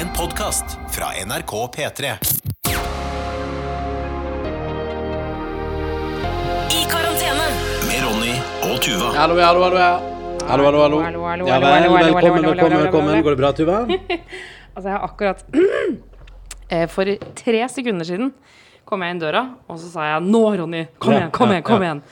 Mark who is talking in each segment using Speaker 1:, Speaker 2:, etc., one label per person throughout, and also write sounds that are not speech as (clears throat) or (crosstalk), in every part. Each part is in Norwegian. Speaker 1: En podcast fra NRK P3.
Speaker 2: I karantene.
Speaker 1: Med Ronny og Tuva.
Speaker 3: Hallo, ja, hallo, hallo. ja. Hallo, hallo, hallo.
Speaker 4: Hallo, hallo, hallo,
Speaker 3: Ja
Speaker 4: hallo, hallo,
Speaker 3: vel, velkommen,
Speaker 4: hallo, hallo, hallo,
Speaker 3: velkommen,
Speaker 4: hallo,
Speaker 3: velkommen.
Speaker 4: hallo.
Speaker 3: Går det bra,
Speaker 4: (laughs)
Speaker 3: Tuva?
Speaker 4: Altså, jeg har akkurat (clears throat) eh, For tre sekunder siden kom jeg inn døra, og så sa jeg 'Nå, Ronny! Kom
Speaker 3: Ja,
Speaker 4: igjen! Kom
Speaker 3: ja,
Speaker 4: igjen!' kom
Speaker 3: ja.
Speaker 4: igjen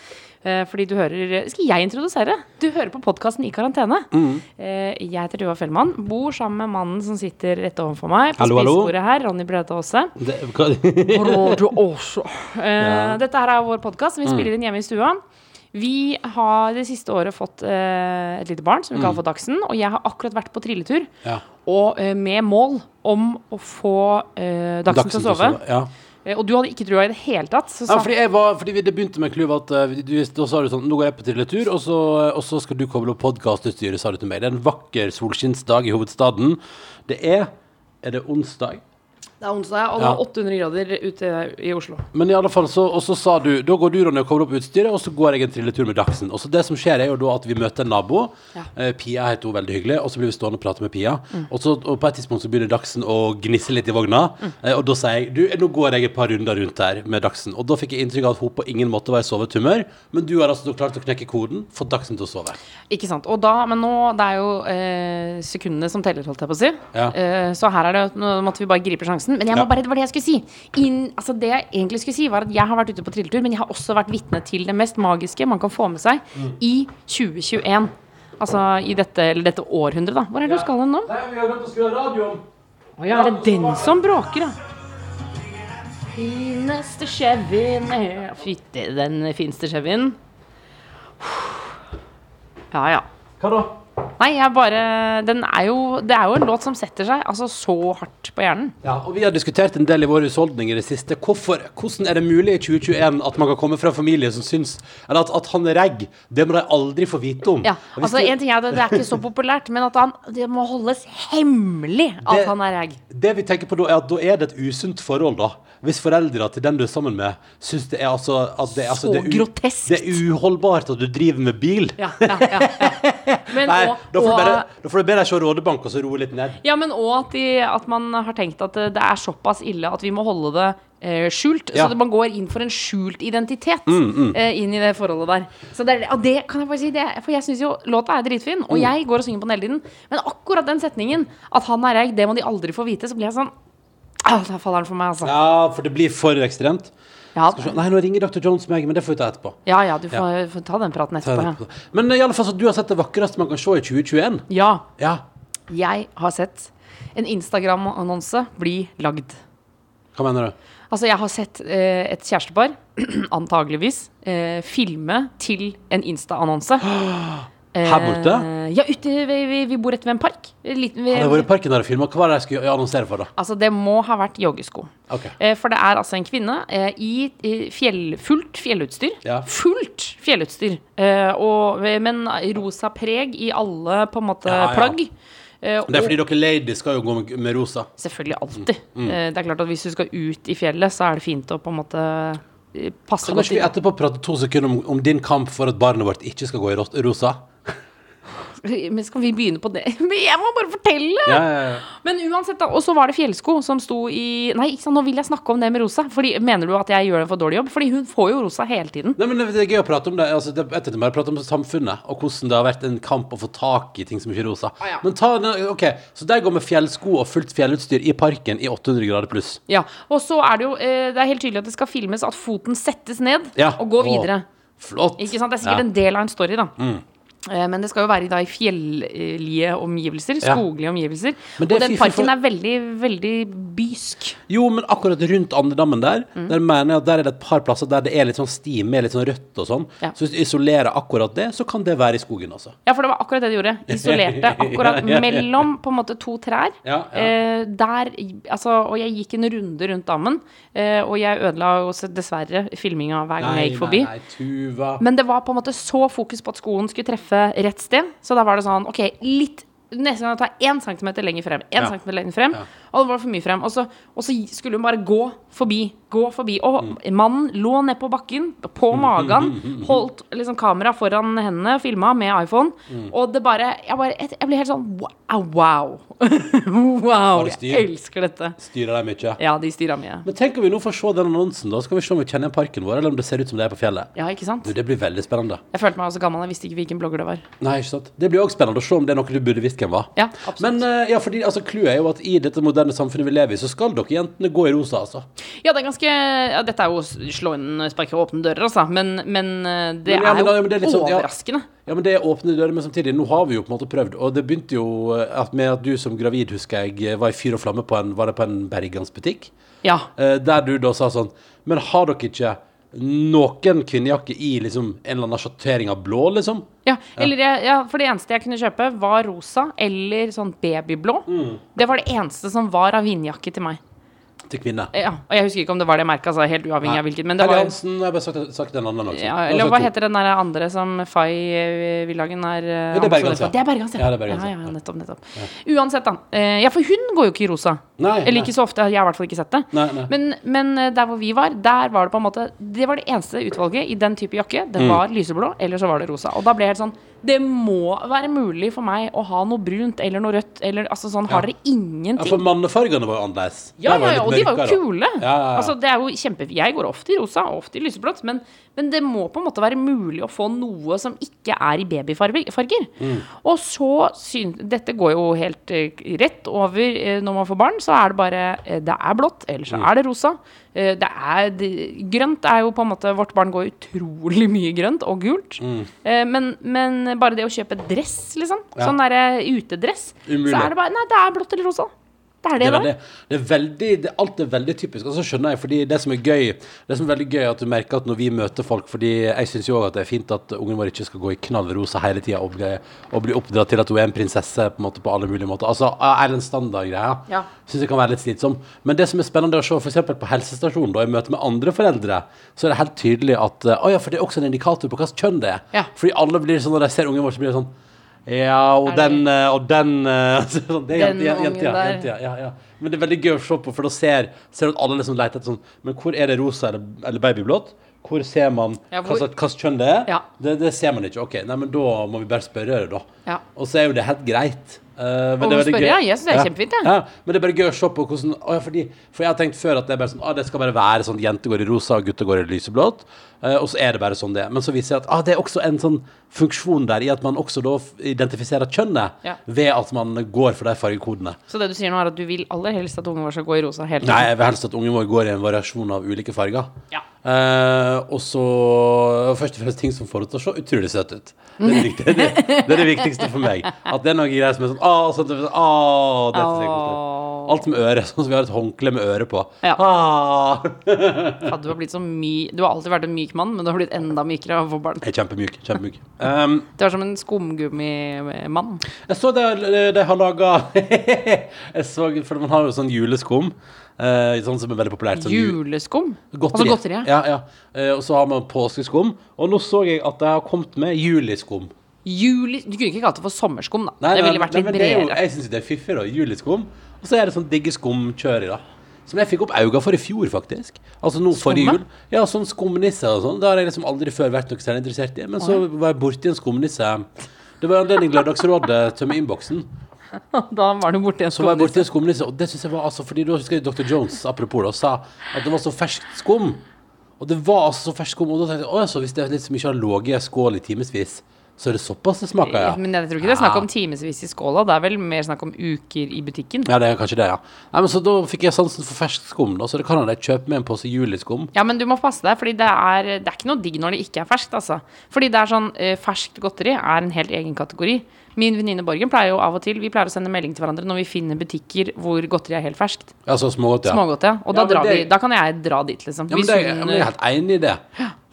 Speaker 4: Eh, fordi du hører Skal jeg introdusere? Du hører på podkasten I karantene.
Speaker 3: Mm.
Speaker 4: Eh, jeg heter Tuva Fellmann. Bor sammen med mannen som sitter rett overfor meg på
Speaker 3: Hallo, hallo.
Speaker 4: spisebordet her. Ronny Brødte Aase.
Speaker 3: Det,
Speaker 4: (laughs)
Speaker 3: hva-
Speaker 4: Eh, Dette her er vår
Speaker 3: Mm.
Speaker 4: podkast som vi spiller inn hjemme i stua. Vi har det siste året fått eh, et lite barn som vi
Speaker 3: Mm.
Speaker 4: kaller for Dagsen. Og jeg har akkurat vært på trilletur,
Speaker 3: Ja.
Speaker 4: og eh, med mål om å få eh, Dagsen, til å sove.
Speaker 3: Ja.
Speaker 4: Eh, og du hadde ikke trua i det hele tatt. Så
Speaker 3: ja,
Speaker 4: sa
Speaker 3: fordi, jeg var, fordi vi- det begynte med Klyv at eh, du, da sa du sånn Nå går jeg på trilletur, og så, eh, og så skal du koble opp podkastutstyret, sa du til meg. Det er en vakker solskinnsdag i hovedstaden. Det er Er det onsdag?
Speaker 4: det er onsdag, og det
Speaker 3: Ja.
Speaker 4: var 800 grader ute i Oslo.
Speaker 3: Men i alle fall så, og så sa du Da går du, Ronny, og kobler opp utstyret Og så går jeg en trilletur med Dagsen Og så det som skjer er jo da at vi møter en nabo
Speaker 4: Ja. Mm.
Speaker 3: eh, Pia heter hun veldig hyggelig Og så blir vi stående og prate med Pia og, så, og på et tidspunkt så begynner Dagsen å gnisse litt i vogna
Speaker 4: Mm.
Speaker 3: eh, Og da sier jeg Du, nå går jeg et par runder rundt her med Dagsen Og da fikk jeg inntrykk av at hun på ingen måte var i sovetumør Men du har altså klart å knekke koden For Dagsen til å sove
Speaker 4: Ikke sant. Og da, men nå Det er jo eh, sekundene som teller, holdt jeg på å si.
Speaker 3: Ja.
Speaker 4: Eh, så her er det Nå måtte vi bare gripe sjansen. Men jeg må
Speaker 3: Ja.
Speaker 4: bare, det var det jeg skulle si. Inn, altså det jeg egentlig skulle si, var at jeg har vært ute på trilletur, men jeg har også vært vitne til det mest magiske man kan få med seg
Speaker 3: Mm.
Speaker 4: i 2021. Altså i dette, eller dette århundret, da. Hvor er det du skal hen nå?
Speaker 3: Nei, vi har glemt å skru radioen
Speaker 4: Å ja, er det den som bråker, da? Fineste Chevyen er- Fytti, den fineste Chevyen. Ja, ja.
Speaker 3: Hva da?
Speaker 4: Nei, jeg bare Den er jo Det er jo en låt som setter seg altså så hardt på hjernen.
Speaker 3: Ja, og vi har diskutert en del i våre husholdninger i det siste. Hvorfor, hvordan er det mulig i 2021 at man kan komme fra en familie som syns Eller at, at han er regg, det må de aldri få vite om.
Speaker 4: Ja,
Speaker 3: Og hvis
Speaker 4: altså
Speaker 3: du-
Speaker 4: en ting er det, det er ikke så populært, men at han Det må holdes hemmelig at
Speaker 3: Det-
Speaker 4: han er egg.
Speaker 3: Det vi tenker på da, er at da er det et usunt forhold, da. Hvis foreldra til den du er sammen med, syns det er altså at det, er- altså,
Speaker 4: Så
Speaker 3: det er
Speaker 4: groteskt.
Speaker 3: Det er uholdbart at du driver med bil.
Speaker 4: Ja, ja, ja, ja. Men,
Speaker 3: Nei,
Speaker 4: og,
Speaker 3: da får, du
Speaker 4: og,
Speaker 3: bare, da får du be deg se Rådebank og så roe litt ned.
Speaker 4: ja, men også at, de, at man har tenkt at det er såpass ille at vi må holde det eh, skjult.
Speaker 3: Ja. Mm,
Speaker 4: Så det, man går inn for en skjult identitet Eh, inn i det forholdet der. Så det, er det- og det kan jeg bare si, det, er- for jeg syns jo låta er dritfin,
Speaker 3: Mm.
Speaker 4: og jeg går og synger på den hele tiden. Men akkurat den setningen, at han er egg, det må de aldri få vite, så blir jeg sånn ah, Der faller den for meg, altså.
Speaker 3: Ja, for det blir for ekstremt.
Speaker 4: Ja,
Speaker 3: Skal vi se- Nei, nå ringer Dr. Jones meg, men det får vi ta etterpå.
Speaker 4: ja, ja du får, får ta den praten
Speaker 3: Ta
Speaker 4: etterpå.
Speaker 3: det
Speaker 4: Ja.
Speaker 3: etterpå. Men i alle fall, så du har sett det vakreste man kan se i 2021.
Speaker 4: ja,
Speaker 3: Ja.
Speaker 4: jeg har sett en Instagram-annonse bli lagd.
Speaker 3: Hva mener du?
Speaker 4: Altså, jeg har sett eh, et kjærestepar, (clears throat) antageligvis, eh, filme til en Insta-annonse.
Speaker 3: Her borte?
Speaker 4: Eh, ja, ute, vi, vi, vi bor rett ved en park. En Liten, vi,
Speaker 3: Hadde jeg vært i parken der og filmet, hva var det jeg skulle annonsere for da?
Speaker 4: Altså, det må ha vært joggesko.
Speaker 3: Ok.
Speaker 4: Eh, for det er altså en kvinne eh, i, i fjell, fullt fjellutstyr.
Speaker 3: Ja.
Speaker 4: Fullt fjellutstyr! Eh, og, men rosa preg i alle på en måte
Speaker 3: Ja, ja.
Speaker 4: plagg. Eh,
Speaker 3: Det er Mm,
Speaker 4: og-
Speaker 3: fordi dere ladies skal jo gå med- med rosa.
Speaker 4: Selvfølgelig alltid. Eh, Det er klart at hvis du skal ut i fjellet, så er det fint å på en måte eh, passe
Speaker 3: Kan
Speaker 4: godt
Speaker 3: ikke vi
Speaker 4: inn.
Speaker 3: etterpå prate to sekunder om, om din kamp for at barnet vårt ikke skal gå i ro- rosa?
Speaker 4: (laughs) Men skal vi begynne på det? (laughs) Men jeg må bare fortelle!
Speaker 3: Ja, ja, ja.
Speaker 4: Men uansett, da. Og så var det fjellsko som sto i Nei, ikke sant, nå vil jeg snakke om det med rosa. Fordi, mener du at jeg gjør en for dårlig jobb? Fordi hun får jo rosa hele tiden.
Speaker 3: Nei, men det er gøy å prate om det. Altså, det jeg tenkte bare å prate om samfunnet, og hvordan det har vært en kamp å få tak i ting som ikke er rosa.
Speaker 4: Ah, ja.
Speaker 3: Men ta, den- ok, så der går med fjellsko og fullt fjellutstyr i parken i 800 grader pluss.
Speaker 4: Ja, Og så er det jo eh, Det er helt tydelig at det skal filmes at foten settes ned
Speaker 3: Ja.
Speaker 4: og går
Speaker 3: Å,
Speaker 4: videre.
Speaker 3: Flott.
Speaker 4: Ikke sant? Det er sikkert
Speaker 3: Ja. Mm.
Speaker 4: en del av en story, da. Eh, Men det skal jo være i, da, i fjellige omgivelser.
Speaker 3: Ja.
Speaker 4: Skoglige omgivelser.
Speaker 3: Men
Speaker 4: Og
Speaker 3: det er
Speaker 4: den
Speaker 3: fiffig for-
Speaker 4: parken er veldig, veldig bysk.
Speaker 3: Jo, men akkurat rundt andedammen der,
Speaker 4: Mm.
Speaker 3: der mener jeg at der er det et par plasser der det er litt sånn sti med litt sånn rødt og sånn.
Speaker 4: Ja.
Speaker 3: Så hvis du isolerer akkurat det, så kan det være i skogen, altså.
Speaker 4: Ja, for det var akkurat det
Speaker 3: (laughs)
Speaker 4: de gjorde. Isolerte akkurat
Speaker 3: Ja, ja, ja.
Speaker 4: mellom på en måte to trær.
Speaker 3: Ja, ja.
Speaker 4: Eh, der, altså, og jeg gikk en runde rundt dammen, eh, og jeg ødela jo også dessverre filminga hver gang jeg gikk forbi.
Speaker 3: Nei, nei, Tuva.
Speaker 4: Men det var på en måte så fokus på at skoen skulle treffe rett sted, så da var det sånn OK, litt Neste gang ta én centimeter lenger frem. En
Speaker 3: Ja.
Speaker 4: centimeter lenger frem Og det var for mye frem. Og så, og så skulle hun bare gå forbi. Gå forbi. Og
Speaker 3: Mm.
Speaker 4: mannen lå ned på bakken,
Speaker 3: (laughs)
Speaker 4: på magen, holdt liksom kamera foran hendene, filma med iPhone.
Speaker 3: Mm.
Speaker 4: Og det bare Jeg, bare, jeg, jeg blir helt sånn wow. Wow. (laughs) wow
Speaker 3: det styr?
Speaker 4: jeg elsker dette.
Speaker 3: Styrer de mye?
Speaker 4: Ja, de styra mye.
Speaker 3: Men tenk om vi nå får se den annonsen, da. Så kan vi se om vi kjenner igjen parken vår, eller om det ser ut som det er på fjellet.
Speaker 4: Ja, ikke sant?
Speaker 3: Du, det blir veldig spennende.
Speaker 4: Jeg følte meg også gammel. Jeg visste ikke hvilken blogger det var.
Speaker 3: Nei, ikke sant? Det blir også spennende å se om det er noe du burde visst hvem var.
Speaker 4: Ja, absolutt.
Speaker 3: Men eh, ja, fordi altså, clouet er jo at i dette moderne samfunnet vi lever i, så skal dere jentene gå i rosa, altså.
Speaker 4: Ja, det er ganske ja, Dette er jo å slå inn sparke åpne dører, altså. Men, men eh, det
Speaker 3: Men ja, men
Speaker 4: er jo
Speaker 3: da- men det er litt sånn, ja.
Speaker 4: overraskende.
Speaker 3: Ja, men det er åpne dører, men samtidig, nå har vi jo på en måte prøvd. Og det begynte jo eh, at med at du som gravid, husker jeg, eh, var i fyr og flamme på en, var det på en bergansbutikk.
Speaker 4: Ja.
Speaker 3: Eh, Der du da sa sånn Men har dere ikke noen kvinnejakke i liksom en eller annen sjattering av blå, liksom?
Speaker 4: Ja, eller jeg, ja, for det eneste jeg kunne kjøpe, var rosa eller sånn babyblå.
Speaker 3: Mm.
Speaker 4: Det var det eneste som var av vindjakke til meg. Eh,
Speaker 3: Til kvinner.
Speaker 4: Ja, og jeg husker ikke om det var det merket, altså, helt uavhengig av hvilket. Men det
Speaker 3: Terje
Speaker 4: var
Speaker 3: Hansen, jeg har bare sagt, sagt en annen liksom. også.
Speaker 4: ja, Eller hva heter den der andre som Fay eh, Villagen er eh,
Speaker 3: Ja, det er Bergans,
Speaker 4: ambassadør
Speaker 3: ja.
Speaker 4: for? Det er Bergans, ja.
Speaker 3: Ja, det er Bergans,
Speaker 4: ja, ja,
Speaker 3: ja.
Speaker 4: ja, nettopp, nettopp. Uansett, da. eh, Ja, for hun går jo ikke i rosa.
Speaker 3: Nei,
Speaker 4: Eller
Speaker 3: nei.
Speaker 4: ikke så ofte. Jeg har i hvert fall ikke sett det.
Speaker 3: Nei, nei.
Speaker 4: Men, men eh, der hvor vi var, der var det på en måte Det var det eneste utvalget i den type jakke. Det
Speaker 3: Mm.
Speaker 4: var lyseblå, eller så var det rosa. Og da ble jeg helt sånn Det må være mulig for meg å ha noe brunt eller noe rødt eller altså sånn Har
Speaker 3: Ja.
Speaker 4: dere
Speaker 3: Ja, for
Speaker 4: ingenting?
Speaker 3: mannefargene var jo annerledes.
Speaker 4: Ja,
Speaker 3: Der
Speaker 4: ja, ja,
Speaker 3: litt
Speaker 4: og de var jo
Speaker 3: mørkere.
Speaker 4: kule.
Speaker 3: Ja, ja, ja.
Speaker 4: Altså, det er jo kjempe Jeg går ofte i rosa og ofte i lyseblått, men, men det må på en måte være mulig å få noe som ikke er i babyfarger. farger.
Speaker 3: Mm.
Speaker 4: Og så syn... Dette går jo helt eh, rett over eh, når man får barn, så er det bare eh, Det er blått, eller
Speaker 3: Mm.
Speaker 4: så er det rosa. Eh, det er det, Grønt er jo på en måte Vårt barn går utrolig (laughs) mye grønt og gult. Eh, men, men bare det å kjøpe dress, liksom,
Speaker 3: Mm. Ja.
Speaker 4: sånn derre utedress,
Speaker 3: Umulig.
Speaker 4: så er det bare Nei, det er blått eller rosa. Det er det,
Speaker 3: Det er
Speaker 4: det.
Speaker 3: det. Det er veldig, det, alt er veldig typisk. Og så skjønner jeg, fordi det som er gøy, det som er veldig gøy er at du merker at når vi møter folk Fordi jeg syns jo òg at det er fint at ungen vår ikke skal gå i knallrosa hele tida og, bli- og bli oppdratt til at hun er en prinsesse på, en måte, på alle mulige måter. Altså Erlend Standard-greia
Speaker 4: Ja.
Speaker 3: syns jeg kan være litt slitsom. Men det som er spennende er å se for eksempel på helsestasjonen, da, i møte med andre foreldre, så er det helt tydelig at eh, Å ja, for det er også en indikator på hvilket kjønn det er.
Speaker 4: Ja.
Speaker 3: Fordi alle blir sånn når de ser ungen vår, så blir det sånn ja, og
Speaker 4: Er det-
Speaker 3: den, eh, og den eh», (laughs) så sånn, Det er
Speaker 4: Den
Speaker 3: jente- jente-
Speaker 4: ungen
Speaker 3: jente-
Speaker 4: der.
Speaker 3: jente- ja, ja, ja. Men det er veldig gøy å se på, for da ser, ser du at alle liksom leter etter sånn Men hvor er det rosa eller, eller babyblått? Hvor ser man
Speaker 4: Ja,
Speaker 3: hva
Speaker 4: hvor-
Speaker 3: slags hva slags kjønn det er?
Speaker 4: Ja.
Speaker 3: Det, det ser man ikke. OK, nei, men da må vi bare spørre det, da.
Speaker 4: Ja.
Speaker 3: Og så er jo det helt greit. Eh, men det er
Speaker 4: Og å
Speaker 3: veldig
Speaker 4: spørre,
Speaker 3: gøy.
Speaker 4: ja, jeg synes det er kjempefint, jeg.
Speaker 3: Ja, men det er bare gøy å se på hvordan å, ja, fordi, For jeg har tenkt før at det er bare sånn ah, Det skal bare være sånn jenter går i rosa, og gutter går i lyseblått. eh, og så er det bare sånn det er. Men så viser jeg at ah, det er også en sånn funksjon der i at man også da f- identifiserer kjønnet
Speaker 4: Ja.
Speaker 3: ved at man går for de fargekodene.
Speaker 4: Så det du sier nå er at du vil aller helst at ungen vår skal gå i rosa hele
Speaker 3: Nei,
Speaker 4: tiden?
Speaker 3: jeg vil helst at ungen vår går i en variasjon av ulike farger.
Speaker 4: Ja.
Speaker 3: Eh, og så først og fremst ting som får det til å se utrolig søtt ut. Det er det, viktig- det, det, er det viktigste for meg. At det er noen greier som er sånn Å, sånn, sånn, «Å, dette ser koselig ut».
Speaker 4: Åh,
Speaker 3: Alt med øre. Sånn som vi har et håndkle med øre på.
Speaker 4: Ja.
Speaker 3: Ah.
Speaker 4: faen, du, har blitt så my du har alltid vært en myk mann, men du har blitt enda mykere av å få barn.
Speaker 3: Jeg er kjempemyk. Kjempemyk. Um,
Speaker 4: Du er som en skumgummimann.
Speaker 3: Jeg så det de har laga (laughs) Jeg så For man har jo sånn juleskum. eh, sånn som er veldig populært. Sånn ju-
Speaker 4: Juleskum?
Speaker 3: Godteri.
Speaker 4: Altså godteri, ja.
Speaker 3: ja, ja. Eh, og så har man påskeskum. Og nå så jeg at det har kommet med juliskum.
Speaker 4: Juli Du kunne ikke kalt det for sommerskum, da.
Speaker 3: Nei,
Speaker 4: det
Speaker 3: nei,
Speaker 4: ville vært
Speaker 3: nei,
Speaker 4: litt
Speaker 3: men det er jo-
Speaker 4: bredere.
Speaker 3: Jeg syns det er fiffig, da. Juliskum. Og så er det sånn digge skumkjør i, da. Som jeg fikk opp øynene for i fjor, faktisk. Altså nå forrige
Speaker 4: Skumme?
Speaker 3: jul. Ja, sånn skumnisse og sånn. Det har jeg liksom aldri før vært noe særlig interessert i. Men så var jeg borti en skumnisse. Det var anledning Lørdagsrådet tømme innboksen.
Speaker 4: (laughs) Da var du borti en
Speaker 3: Så var jeg borti
Speaker 4: skumnisse.
Speaker 3: en skumnisse, og det synes jeg var altså Fordi da husker jeg Dr. Jones, apropos, da, sa at det var så ferskt skum. Og det var altså så ferskt skum. Og da tenkte jeg «Å, så hvis det er litt som ikke har ligget i en skål i timevis, så er det såpass det smaker, ja.
Speaker 4: Men jeg tror ikke det er snakk om timevis i skåla. Det er vel mer snakk om uker i butikken.
Speaker 3: Ja, det er kanskje det, ja. Nei, men Så da fikk jeg sansen for ferskt skum, da, så det kan hende jeg kjøper med en pose juliskum.
Speaker 4: Ja, men du må passe deg, fordi det er, det er ikke noe digg når det ikke er ferskt, altså. Fordi det er sånn, eh, ferskt godteri er en helt egen kategori. Min venninne Borgen pleier jo av og til, vi pleier å sende melding til hverandre når vi finner butikker hvor godteri er helt ferskt.
Speaker 3: Altså smågodt, ja.
Speaker 4: Smågodt, ja. Og
Speaker 3: Ja,
Speaker 4: da,
Speaker 3: men
Speaker 4: drar
Speaker 3: det-
Speaker 4: vi, da kan jeg dra dit, liksom.
Speaker 3: Ja, men
Speaker 4: Hvis
Speaker 3: det, ja,
Speaker 4: hun,
Speaker 3: men jeg er helt enig i det.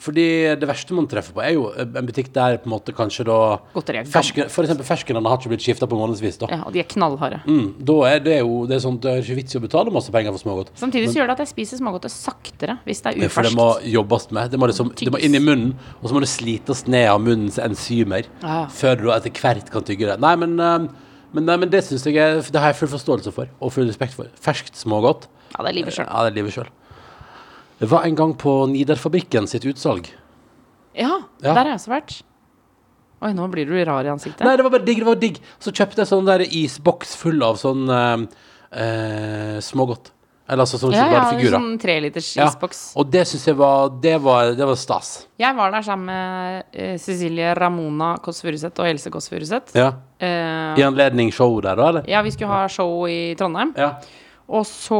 Speaker 3: Fordi det verste man treffer på, er jo eh, en butikk der på en måte kanskje da
Speaker 4: Godteri er gammelt.
Speaker 3: fersken, For eksempel ferskenene har ikke blitt skifta på månedsvis, da.
Speaker 4: ja, og de er knallharde.
Speaker 3: Mm, da er det jo det er sånn, det er ikke vits i å betale masse penger for smågodt.
Speaker 4: Samtidig så gjør det at jeg spiser smågodtet saktere hvis det er
Speaker 3: Ja, For det
Speaker 4: uferskt.
Speaker 3: må jobbes med. Det må, liksom, det må inn i munnen, og så må det slites ned av munnens enzymer
Speaker 4: Ja, ja.
Speaker 3: før du etter hvert kan tygge det. Nei, men, eh, Men, nei, men det synes jeg er, det har jeg full forståelse for, og full respekt for. Ferskt smågodt.
Speaker 4: Ja, det er livet sjøl.
Speaker 3: Ja, det er livet sjøl. Jeg var en gang på Nidarfabrikken sitt utsalg.
Speaker 4: Ja,
Speaker 3: Ja.
Speaker 4: der har jeg også vært. Oi, nå blir du rar i ansiktet.
Speaker 3: Nei, det var bare digg. det var digg Så kjøpte jeg sånn der isboks full av sånn eh, eh, smågodt. Eller altså sånn
Speaker 4: ja, ja, det er
Speaker 3: sjokoladefigurer.
Speaker 4: sånn treliters
Speaker 3: Ja,
Speaker 4: isboks.
Speaker 3: Og det syns jeg var det, var det var stas.
Speaker 4: Jeg var der sammen med eh, Cecilie Ramona Kåss Furuseth og Else Kåss Furuseth.
Speaker 3: Ja.
Speaker 4: Eh,
Speaker 3: I anledning show der, da, eller?
Speaker 4: ja, vi skulle ha show i Trondheim.
Speaker 3: Ja.
Speaker 4: Og så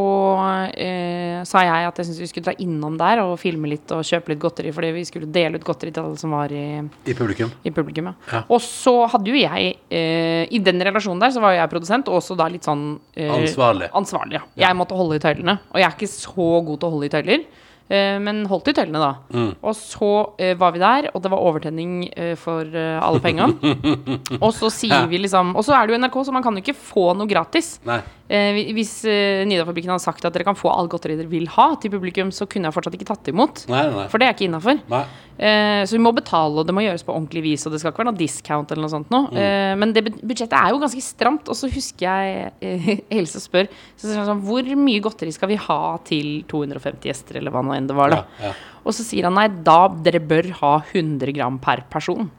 Speaker 4: eh, sa jeg at jeg syntes vi skulle dra innom der og filme litt og kjøpe litt godteri, fordi vi skulle dele ut godteri til alle som var i,
Speaker 3: I publikum.
Speaker 4: i publikum. Ja.
Speaker 3: Ja.
Speaker 4: Og så hadde jo jeg, eh, i den relasjonen der, så var jo jeg produsent, og også da litt sånn eh,
Speaker 3: Ansvarlig.
Speaker 4: ansvarlig, ja. Jeg måtte holde i tøylene, og jeg er ikke så god til å holde i tøyler. eh, Men holdt i tøylene, da.
Speaker 3: Mm.
Speaker 4: Og så eh, var vi der, og det var overtenning eh, for eh, alle pengene.
Speaker 3: (laughs)
Speaker 4: og så sier vi liksom Og så er det jo NRK, så man kan jo ikke få noe gratis.
Speaker 3: Nei.
Speaker 4: Eh, hvi- hvis eh, Nidafabrikken hadde sagt at dere kan få all godteri dere vil ha til publikum, så kunne jeg fortsatt ikke tatt imot.
Speaker 3: Nei, nei, nei.
Speaker 4: For det er ikke innafor.
Speaker 3: nei.
Speaker 4: Eh, så vi må betale, og det må gjøres på ordentlig vis, og det skal ikke være noe discount eller noe sånt nå.
Speaker 3: Mm.
Speaker 4: Eh, men det bud- budsjettet er jo ganske stramt, og så husker jeg eh, (laughs) Else spør så sier han sånn, hvor mye godteri skal vi ha til 250 gjester, eller hva nå enn det var, da.
Speaker 3: Ja, ja.
Speaker 4: Og så sier han nei, da dere bør ha 100 gram per person.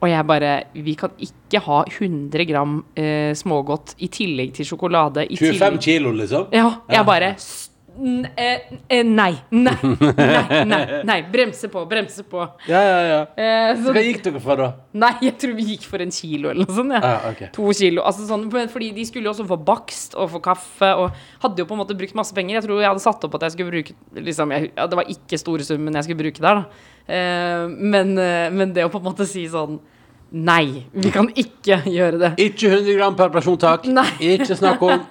Speaker 4: Og jeg bare Vi kan ikke ha 100 gram eh, smågodt i tillegg til sjokolade. I
Speaker 3: 25
Speaker 4: tillegg.
Speaker 3: kilo, liksom?
Speaker 4: Ja, jeg bare s- n- eh, eh, Nei, nei, nei, nei, nei. Bremse på, bremse på.
Speaker 3: Ja, ja, ja.
Speaker 4: Eh,
Speaker 3: Så
Speaker 4: så,
Speaker 3: Hva gikk dere for, da?
Speaker 4: nei, jeg tror vi gikk for en kilo eller noe sånt. Ja.
Speaker 3: Ja, Ah, ok.
Speaker 4: To kilo. Altså sånn, men fordi de skulle jo også få bakst og få kaffe og hadde jo på en måte brukt masse penger. Jeg tror jeg hadde satt opp at jeg skulle bruke liksom, jeg, ja, Det var ikke store summen jeg skulle bruke der, da. Eh, men, eh, men det å på en måte si sånn Nei, vi kan ikke gjøre det.
Speaker 3: Ikke 100 gram per person, takk.
Speaker 4: Nei.
Speaker 3: Ikke snakk
Speaker 4: (laughs)
Speaker 3: om.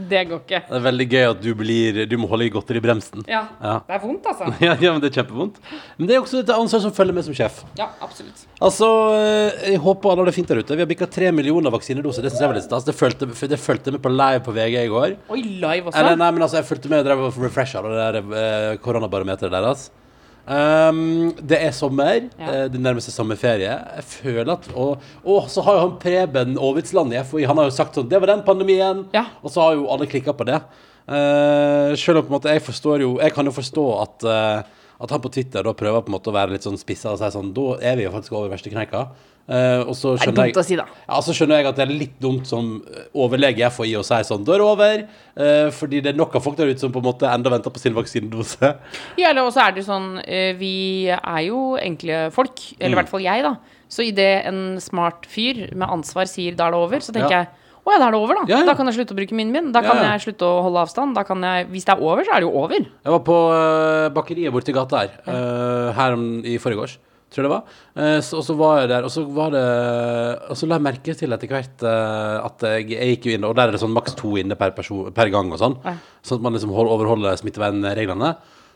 Speaker 3: Det
Speaker 4: Det går ikke.
Speaker 3: er veldig gøy at du, blir, du må holde i godteribremsen.
Speaker 4: Ja.
Speaker 3: Ja. (laughs)
Speaker 4: Det er vondt, altså.
Speaker 3: Ja, ja, men det er kjempevondt. Men det er også et ansvar som følger med som sjef.
Speaker 4: Ja, absolutt.
Speaker 3: Altså, eh, Jeg håper alle har det fint der ute. Vi har bikka tre millioner vaksinedoser. Det synes jeg var litt stas. Det fulgte, for det fulgte med på live på VG i går.
Speaker 4: Oi, live også?
Speaker 3: Eller, nei, men altså, jeg fulgte med og drev og refresha det der eh, koronabarometeret deres. Um, det er sommer.
Speaker 4: Ja.
Speaker 3: eh, Det nærmer seg sommerferie. Jeg føler at Og, og så har jo han Preben Aavitsland i FHI Han har jo sagt sånn Det var den pandemien.
Speaker 4: Ja.
Speaker 3: Og så har jo alle klikka på det. Eh, selv om på en måte jeg forstår jo Jeg kan jo forstå at eh, At han på Twitter da prøver på en måte å være litt sånn spissa og si sånn Da er vi jo faktisk over verste kneika. Eh, og så
Speaker 4: det er
Speaker 3: skjønner jeg
Speaker 4: dumt å si, da.
Speaker 3: ja, så skjønner jeg at det er litt dumt som eh, overlege jeg får i å si sånn, da er det over, eh, fordi det er nok av folk der ute som på en måte enda venter på sin vaksinedose.
Speaker 4: Ja, eller også er det jo sånn eh, Vi er jo enkle folk,
Speaker 3: Mm.
Speaker 4: eller i hvert fall jeg, da. Så idet en smart fyr med ansvar sier 'da er det over', så tenker
Speaker 3: Ja.
Speaker 4: jeg å ja, da er det over, da.
Speaker 3: Ja, ja.
Speaker 4: Da kan jeg slutte å bruke min min. Da kan
Speaker 3: Ja, ja.
Speaker 4: jeg slutte å holde avstand. Da kan jeg, hvis det er over, så er det jo over.
Speaker 3: Jeg var på eh, bakeriet borti gata her, eh, her om, i forgårs, tror jeg det var. Eh, så, og så var jeg der, og så var det Og så la jeg merke til etter hvert eh, at jeg, jeg gikk jo inn, og der er det sånn maks to inne per, person, per gang og sånn,
Speaker 4: Ja.
Speaker 3: sånn at man liksom hold, overholder smittevernreglene.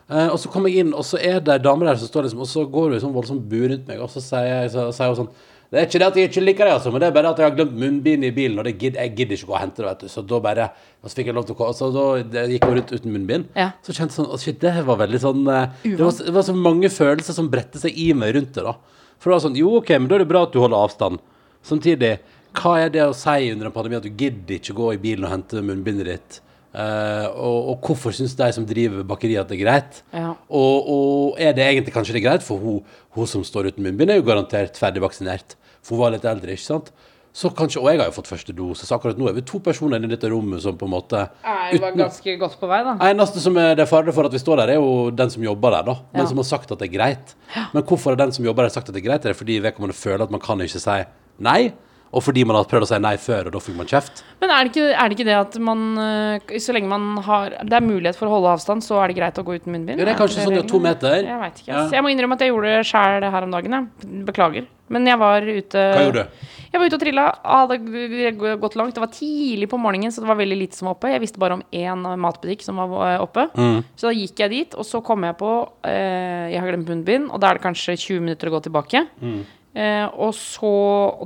Speaker 3: Eh, og så kom jeg inn, og så er det ei dame der som står liksom, og så går hun i sånn voldsom bu rundt meg, og så sier jeg- så sier hun sånn det er ikke det at jeg ikke liker det, altså, men det er bare at jeg har glemt munnbind i bilen. Og det gidd, jeg gidder ikke gå og hente det, vet du. Så da bare Og så fikk jeg lov til å gå, og så da det gikk jeg rundt uten munnbind.
Speaker 4: Ja.
Speaker 3: Så kjente jeg sånn «Å, Shit, det her var veldig sånn eh, det var, det var så mange følelser som bredte seg i meg rundt det, da. For det var sånn Jo, OK, men da er det bra at du holder avstand. Samtidig, hva er det å si under en pandemi at du gidder ikke gå i bilen og hente munnbindet ditt? Eh, og, og hvorfor syns de som driver bakeriet at det er greit?
Speaker 4: Ja.
Speaker 3: Og, og er det egentlig kanskje det er greit, for hun, hun som står uten munnbind, er jo garantert ferdig vaksinert. For hun var litt eldre, ikke sant? Så kanskje, Og jeg har jo fått første dose, så akkurat nå er vi to personer inne i dette rommet som på en måte
Speaker 4: Jeg var ganske godt på vei, da.
Speaker 3: Eneste som er det er farlig for at vi står der, er jo den som jobber der, da. Den
Speaker 4: Ja.
Speaker 3: som har sagt at det er greit. Men hvorfor har den som jobber der sagt at det er greit? Er det fordi vedkommende føler at man kan ikke si nei? Og fordi man har prøvd å si nei før, og da fikk man kjeft?
Speaker 4: Men er det, ikke, er det ikke det at man eh, Så lenge man har Det er mulighet for å holde avstand, så er det greit å gå uten munnbind?
Speaker 3: Jo, det er kanskje
Speaker 4: ikke
Speaker 3: sånn ja,
Speaker 4: reglene?
Speaker 3: to meter.
Speaker 4: Jeg vet ikke.
Speaker 3: Ja.
Speaker 4: ass. Jeg må innrømme at jeg gjorde det sjæl her om dagen. Jeg. Beklager. Men jeg var ute
Speaker 3: Hva gjorde du?
Speaker 4: Jeg var ute og trilla. Hadde g- g- gått langt. Det var tidlig på morgenen, så det var veldig lite som var oppe. Jeg visste bare om én matbutikk som var eh, oppe.
Speaker 3: Mm.
Speaker 4: Så da gikk jeg dit, og så kom jeg på eh, Jeg har glemt munnbind, og da er det kanskje 20 minutter å gå tilbake.
Speaker 3: Mm.
Speaker 4: Eh, og så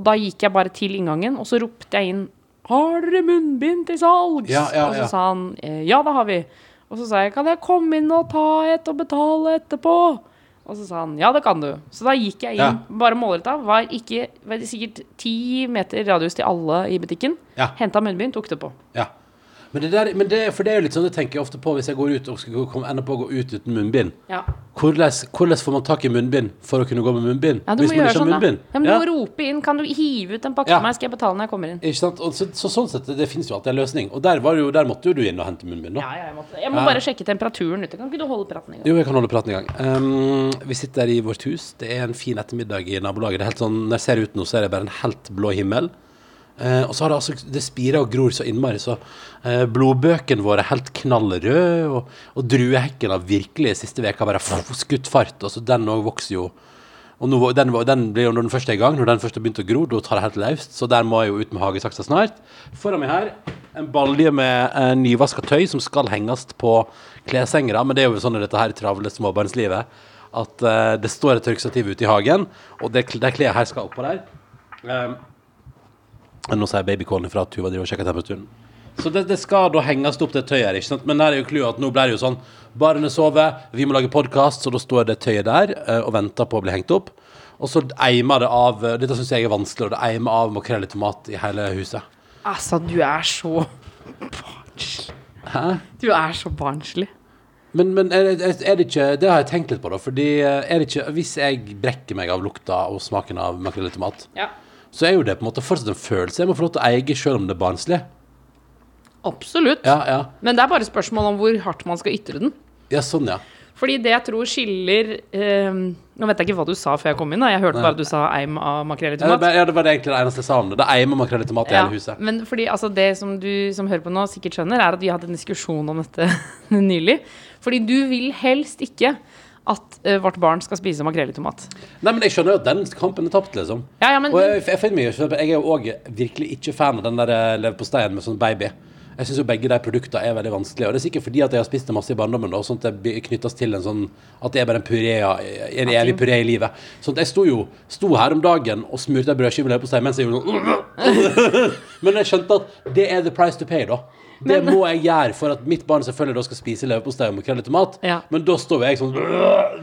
Speaker 4: Og da gikk jeg bare til inngangen, og så ropte jeg inn Har dere munnbind til salgs?
Speaker 3: Ja, ja,
Speaker 4: og
Speaker 3: ja.
Speaker 4: så sa han eh, ja, det har vi. Og så sa jeg kan jeg komme inn og ta et og betale etterpå? Og Og så sa han ja, det kan du. Så da gikk jeg inn,
Speaker 3: Ja.
Speaker 4: bare målretta. Var ikke var sikkert ti meter radius til alle i butikken.
Speaker 3: Ja.
Speaker 4: Henta munnbind, tok det på.
Speaker 3: Ja. Men, det der, men det, for det er jo litt sånn det tenker jeg ofte på hvis jeg går ut og skal gå- komme- ender på å gå ut uten munnbind.
Speaker 4: Ja.
Speaker 3: Hvordan, hvordan får man tak i munnbind for å kunne gå med munnbind?
Speaker 4: Ja, du
Speaker 3: hvis man
Speaker 4: må gjøre
Speaker 3: ikke har
Speaker 4: sånn, da.
Speaker 3: munnbind?
Speaker 4: Ja, men
Speaker 3: Ja.
Speaker 4: Du må rope inn. Kan du hive ut en pakke
Speaker 3: Ja.
Speaker 4: til meg, skal jeg betale når jeg kommer inn?
Speaker 3: Ikke sant? Og så, så sånn sett, det finnes jo alltid en løsning. Og der, var jo, der måtte jo du inn og hente munnbind, da.
Speaker 4: Ja, ja, jeg, måtte. jeg må
Speaker 3: Ja.
Speaker 4: bare sjekke temperaturen ute. Kan ikke du holde praten i gang?
Speaker 3: Eh, Jo, jeg kan holde praten i gang. Um, vi sitter i vårt hus. Det er en fin ettermiddag i nabolaget. Det er helt sånn, Når jeg ser ut nå, så er det bare en helt blå himmel. Eh, og så har det altså Det spirer og gror så innmari, så eh, blodbøkene våre er helt knallrøde. Og, og druehekken har virkelig siste veka bare fuff, skutt fart. Og så den òg vokser jo. Og nå, den, den blir jo når den første er i gang, når den første har begynt å gro, da tar det helt løst. Så der må jeg jo ut med hagesaksa snart. Foran meg her en balje med eh, nyvaska tøy som skal henges på kleshengere. Men det er jo sånn i dette her travle småbarnslivet at eh, det står et tørkestativ ute i hagen, og det, det kleet her skal oppå der. Um, nå sier babykålen ifra at Tuva driver og sjekker temperaturen. Så det, det skal da henges opp det tøyet her, ikke sant? Men der er jo clouet at nå blir det jo sånn Barnet sover, vi må lage podkast, så da står det tøyet der eh, og venter på å bli hengt opp. Og så eimer det av eh, Dette syns jeg er vanskelig, og det eimer av makrell i tomat i hele huset.
Speaker 4: Altså, du er så barnslig. Du er så barnslig.
Speaker 3: Men, men er, det- er det ikke Det har jeg tenkt litt på, da. Fordi eh, er det ikke Hvis jeg brekker meg av lukta og smaken av makrell i tomat,
Speaker 4: Ja.
Speaker 3: så er jo det på en måte fortsatt en følelse jeg må få lov til å eie, selv om det er barnslig.
Speaker 4: Absolutt.
Speaker 3: Ja, ja.
Speaker 4: Men det er bare spørsmål om hvor hardt man skal ytre den.
Speaker 3: Ja, sånn, ja.
Speaker 4: Fordi det jeg tror skiller eh, Nå vet jeg ikke hva du sa før jeg kom inn. Da. Jeg hørte bare at du sa eim av makrell i
Speaker 3: Ja, det,
Speaker 4: tomat.
Speaker 3: bare- ja, det var det egentlig det eneste jeg sa om det. Det eimer makrell i tomat i
Speaker 4: Ja,
Speaker 3: hele huset.
Speaker 4: men fordi altså, det som du som hører på nå sikkert skjønner, er at vi hadde en diskusjon om dette (laughs) nylig. Fordi du vil helst ikke at eh, vårt barn skal spise makrell i tomat.
Speaker 3: Nei, men jeg skjønner jo at den kampen er tapt, liksom.
Speaker 4: Ja, ja, men,
Speaker 3: Og jeg, jeg, finner meg, jo ikke- jeg er jo òg virkelig ikke fan av den der eh, leverposteien med sånn baby. Jeg syns jo begge de produktene er veldig vanskelige. Og det er sikkert fordi at jeg har spist det masse i barndommen, da, og sånn at det blir- knyttes til en sånn At det er bare en puré, av- en evig puré i livet. Sånn at jeg sto jo sto her om dagen og smurte ei brødskive med leverpostei mens jeg gjorde sånn Men jeg skjønte at det er the price to pay, da. Det må jeg gjøre for at mitt barn selvfølgelig da skal spise leverpostei og makrell i tomat.
Speaker 4: Ja.
Speaker 3: Men da står jo jeg sånn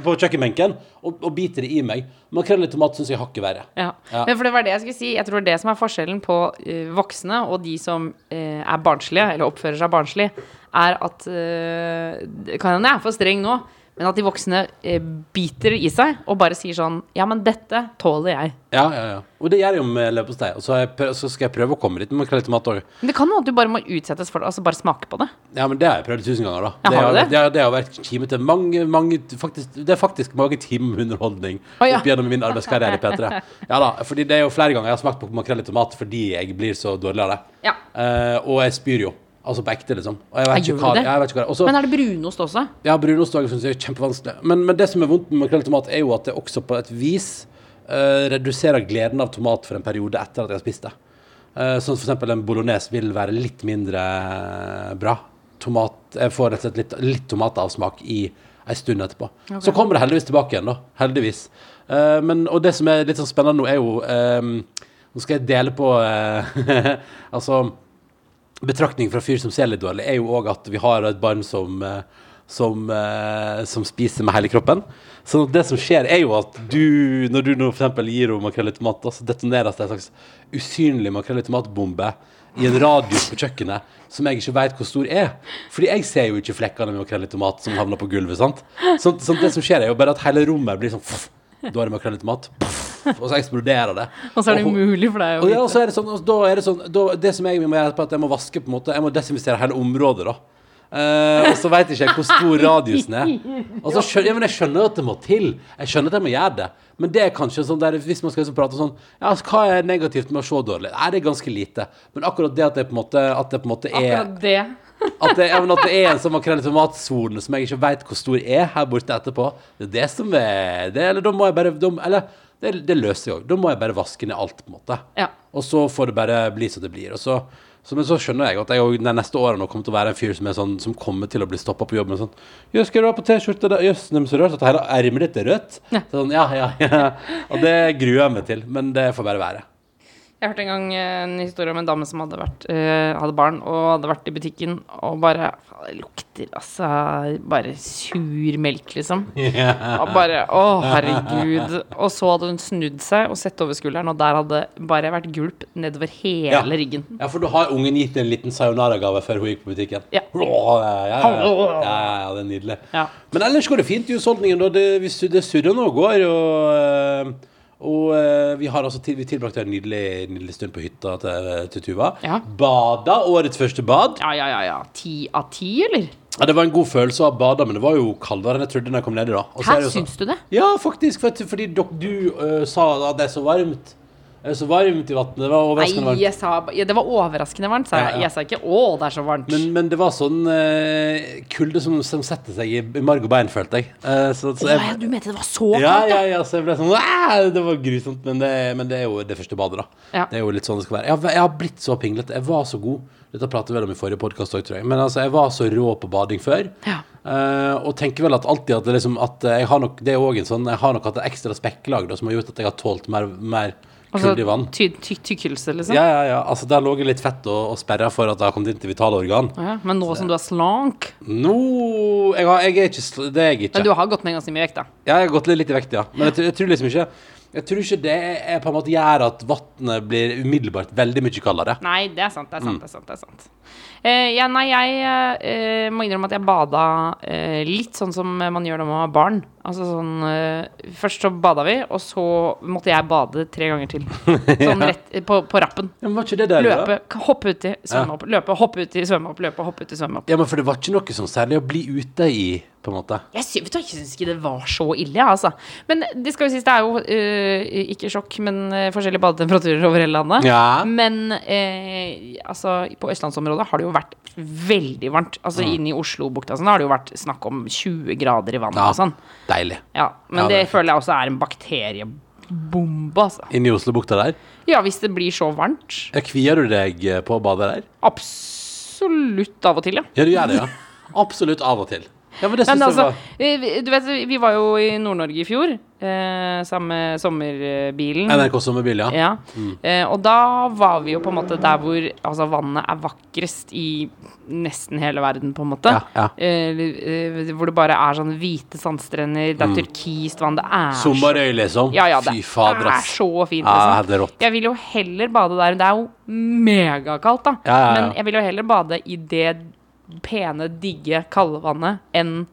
Speaker 3: på kjøkkenbenken og, og biter det i meg. Makrell i tomat syns jeg er hakket verre.
Speaker 4: ja.
Speaker 3: Ja.
Speaker 4: men for det var det jeg skulle si. Jeg tror det som er forskjellen på eh, voksne og de som eh, er barnslige, eller oppfører seg barnslig, er at eh, det Kan hende jeg er for streng nå, men at de voksne eh, biter i seg og bare sier sånn Ja, men dette tåler jeg.
Speaker 3: Ja, ja, ja. Og det gjør jeg jo med leverpostei. Og så, har jeg prøv, så skal jeg prøve å komme dit med makrell i tomat òg.
Speaker 4: Men det kan jo at du bare må utsettes for det, altså bare smake på det.
Speaker 3: Ja, men det har jeg prøvd tusen ganger, da.
Speaker 4: Ja, har du
Speaker 3: det?
Speaker 4: det?
Speaker 3: Det, har, det har vært kime til mange, mange faktisk, Det er faktisk mange timer med underholdning
Speaker 4: Å, ja.
Speaker 3: opp gjennom min arbeidskarriere i P3.
Speaker 4: (laughs)
Speaker 3: Ja da, fordi det er jo flere ganger jeg har smakt på makrell i tomat fordi jeg blir så dårlig av det.
Speaker 4: Ja.
Speaker 3: Eh, og jeg spyr jo. Altså på ekte, liksom. Og jeg vet
Speaker 4: Jeg
Speaker 3: ikke
Speaker 4: gjør
Speaker 3: hva
Speaker 4: det.
Speaker 3: jeg vet ikke hva det er. Og så-
Speaker 4: Men er det brunost også?
Speaker 3: Ja, brunostdagen syns jeg er kjempevanskelig. Men, men det som er vondt med makrell i tomat, er jo at det også på et vis eh, reduserer gleden av tomat for en periode etter at jeg har spist det. Eh, sånn for eksempel en bolognese vil være litt mindre eh, bra. Tomat, jeg får rett og slett litt, litt tomatavsmak i en stund etterpå. Så kommer det heldigvis tilbake igjen, da. Heldigvis. Eh, men, og det som er litt sånn spennende nå, er jo ehm, Nå skal jeg dele på eh, (laughs) Altså betraktning fra fyr som ser litt dårlig, er jo òg at vi har et barn som eh, som, eh, som spiser med hele kroppen. Så det som skjer, er jo at du, når du nå for eksempel gir henne makrell i tomat, da, så detoneres det en slags usynlig makrell i tomatbombe i en radius på kjøkkenet som jeg ikke veit hvor stor er. Fordi jeg ser jo ikke flekkene med makrell i tomat som havner på gulvet. sant? Så, så det som skjer, er jo bare at hele rommet blir sånn pff, Da er det makrell i tomat. Pff, og så eksploderer det.
Speaker 4: Og så er det
Speaker 3: hun-
Speaker 4: umulig for deg å
Speaker 3: og ja, og
Speaker 4: vite.
Speaker 3: så er det sånn, og da er det sånn da, Det som jeg må gjøre på at jeg må vaske på en måte Jeg må desinfisere hele området da Eh, og så vet ikke jeg hvor stor radiusen er Og så skjønner ja, men jeg skjønner at det må til Jeg skjønner at jeg må gjøre det Men det er kanskje sånn der Hvis man skal liksom prate sånn Ja, altså, hva er negativt med å se dårlig? Nei, det er ganske lite Men akkurat det at det på en måte At det på en måte er
Speaker 4: Akkurat det.
Speaker 3: at det, ja, men at det er en sånn makrell i tomatsone som jeg ikke veit hvor stor er her borte etterpå. Det er det som er det, Eller da må jeg bare da, Eller det, det løser jeg òg. Da må jeg bare vaske ned alt, på en måte.
Speaker 4: Ja.
Speaker 3: Og så får det bare bli som det blir. Og så, så, men så skjønner jeg at jeg òg de neste årene nå kommer til å være en fyr som, er sånn, som kommer til å bli stoppa på jobben. Sånn 'Jøss, hva er det du har på T-skjorta da? Jøss, den er så rørt at hele ermet ditt er rødt.' Sånn, ja, ja, ja. Og det gruer jeg meg til. Men det får bare være.
Speaker 4: Jeg hørte en gang eh, en historie om en dame som hadde, vært, eh, hadde barn og hadde vært i butikken og bare "Faen, Det lukter altså bare sur melk, liksom. Og bare Å, herregud. Og så hadde hun snudd seg og sett over skulderen, og der hadde bare vært gulp nedover hele
Speaker 3: Ja.
Speaker 4: ryggen.
Speaker 3: Ja, for da har ungen gitt en liten sayonara-gave før hun gikk på butikken.
Speaker 4: (laughs) Ja.
Speaker 3: Åh, ja, ja, ja. ja, ja, ja det er nydelig.
Speaker 4: Ja.
Speaker 3: Men ellers går det fint i husholdningen. da. Det, vi stud- det surrer nå og går. Og, øh, og øh, vi har altså til, vi tilbrakte en nydelig, nydelig stund på hytta til, til Tuva.
Speaker 4: Ja.
Speaker 3: Bada årets første bad.
Speaker 4: Ja, ja, ja. ja. Ti av ti, eller?
Speaker 3: Ja, det var en god følelse å ha bada, men det var jo kaldere enn jeg trodde da jeg kom nedi. da. Og så er
Speaker 4: Her
Speaker 3: det jo sånn-
Speaker 4: syns du det?
Speaker 3: Ja, faktisk. For, at- fordi dok, du øh, sa at det er så varmt. Det er så varmt i vannet. Det var
Speaker 4: Nei,
Speaker 3: overraskende varmt.
Speaker 4: jeg sa, ja, det var overraskende varmt, sa
Speaker 3: Ja, ja.
Speaker 4: jeg. Jeg sa ikke 'å, det er så varmt'.
Speaker 3: Men, men det var sånn eh, kulde som, som setter seg i, i marg og bein, følte jeg. Eh, så, så
Speaker 4: Å, ja,
Speaker 3: jeg
Speaker 4: du mente det var så kaldt?
Speaker 3: ja,
Speaker 4: ja.
Speaker 3: ja, ja, så jeg ble sånn «Æ!» Det var grusomt, men det, men det er jo det første badet, da.
Speaker 4: Ja.
Speaker 3: Det er jo litt sånn det skal være. Jeg har, jeg har blitt så pinglete. Jeg var så god. Dette pratet vi vel om i forrige podkast òg, tror jeg. Men altså, jeg var så rå på bading før.
Speaker 4: Ja.
Speaker 3: Eh, og tenker vel at alltid at det liksom at jeg har nok Det er òg en sånn Jeg har nok hatt et ekstra spekklag da, som har gjort at jeg har tålt mer, mer
Speaker 4: Altså,
Speaker 3: kulde i vann.
Speaker 4: ty ty tykkelse, liksom?
Speaker 3: Ja, ja, ja. Altså, der lå jeg litt fett og, og sperra for at det har kommet inn til vitale organ.
Speaker 4: Å ja, men nå som du er slank
Speaker 3: Nå jeg, har, jeg er ikke sl- Det er jeg ikke.
Speaker 4: Men du har gått ned ganske mye vekt, da.
Speaker 3: Ja, Jeg har gått litt, litt i vekt, ja. Men jeg, tror- jeg tror liksom ikke Jeg tror ikke det er på en måte gjør at vannet blir umiddelbart veldig mye kaldere.
Speaker 4: Nei, det er sant, det er sant. det er sant, det er sant. Eh, ja, nei, jeg eh, må innrømme at jeg bada eh, litt sånn som man gjør når man har barn. Altså sånn eh, Først så bada vi, og så måtte jeg bade tre ganger (laughs) til. Sånn rett på, på rappen.
Speaker 3: Ja, men var ikke det der, da?
Speaker 4: Løpe, k- hoppe uti, svømme
Speaker 3: Ja.
Speaker 4: opp. Løpe, hoppe uti, svømme opp. Løpe, hoppe uti, svømme opp.
Speaker 3: Ja, men for det var ikke noe sånn særlig å bli ute i, på en måte.
Speaker 4: Jeg sy- vet du, jeg syns ikke det var så ille, jeg, altså. Men det skal jo sies, det er jo eh, ikke sjokk, men eh, forskjellige badetemperaturer over hele landet.
Speaker 3: Ja.
Speaker 4: Men eh, altså, på østlandsområdet har det jo vært veldig varmt. Altså Inne i Oslobukta og sånn, har det jo vært snakk om 20 grader i vannet
Speaker 3: Ja,
Speaker 4: og sånn.
Speaker 3: Deilig.
Speaker 4: Ja, men
Speaker 3: Ja,
Speaker 4: det,
Speaker 3: det er
Speaker 4: føler jeg også er en bakteriebombe, altså.
Speaker 3: Inne i Oslobukta der.
Speaker 4: Ja, hvis det blir så varmt.
Speaker 3: Ja, Kvier du deg eh, på å bade der?
Speaker 4: Absolutt av og til, ja.
Speaker 3: Ja, du gjør det,
Speaker 4: (laughs)
Speaker 3: ja. Absolutt av og til. Ja, men det syns
Speaker 4: Men
Speaker 3: jeg
Speaker 4: altså,
Speaker 3: var
Speaker 4: eh, vi- du vet, vi var jo i Nord-Norge i fjor, eh, sammen med sommerbilen.
Speaker 3: NRK Sommerbil, ja.
Speaker 4: Ja. Eh, og da var vi jo på en måte der hvor altså, vannet er vakrest i nesten hele verden, på en måte.
Speaker 3: Ja, ja.
Speaker 4: Eh, eh, hvor det bare er sånn hvite sandstrender, det er turkist vann, det er så-
Speaker 3: Sommerøy, liksom.
Speaker 4: ja, ja, det
Speaker 3: Mm. Fy fader,
Speaker 4: er
Speaker 3: ass.
Speaker 4: så fint.
Speaker 3: Ja,
Speaker 4: Liksom.
Speaker 3: det er rått.
Speaker 4: Jeg vil jo heller bade der. Det er jo megakaldt, da.
Speaker 3: Ja, ja, ja.
Speaker 4: Men jeg vil jo heller bade i det pene, digge, kalde vannet enn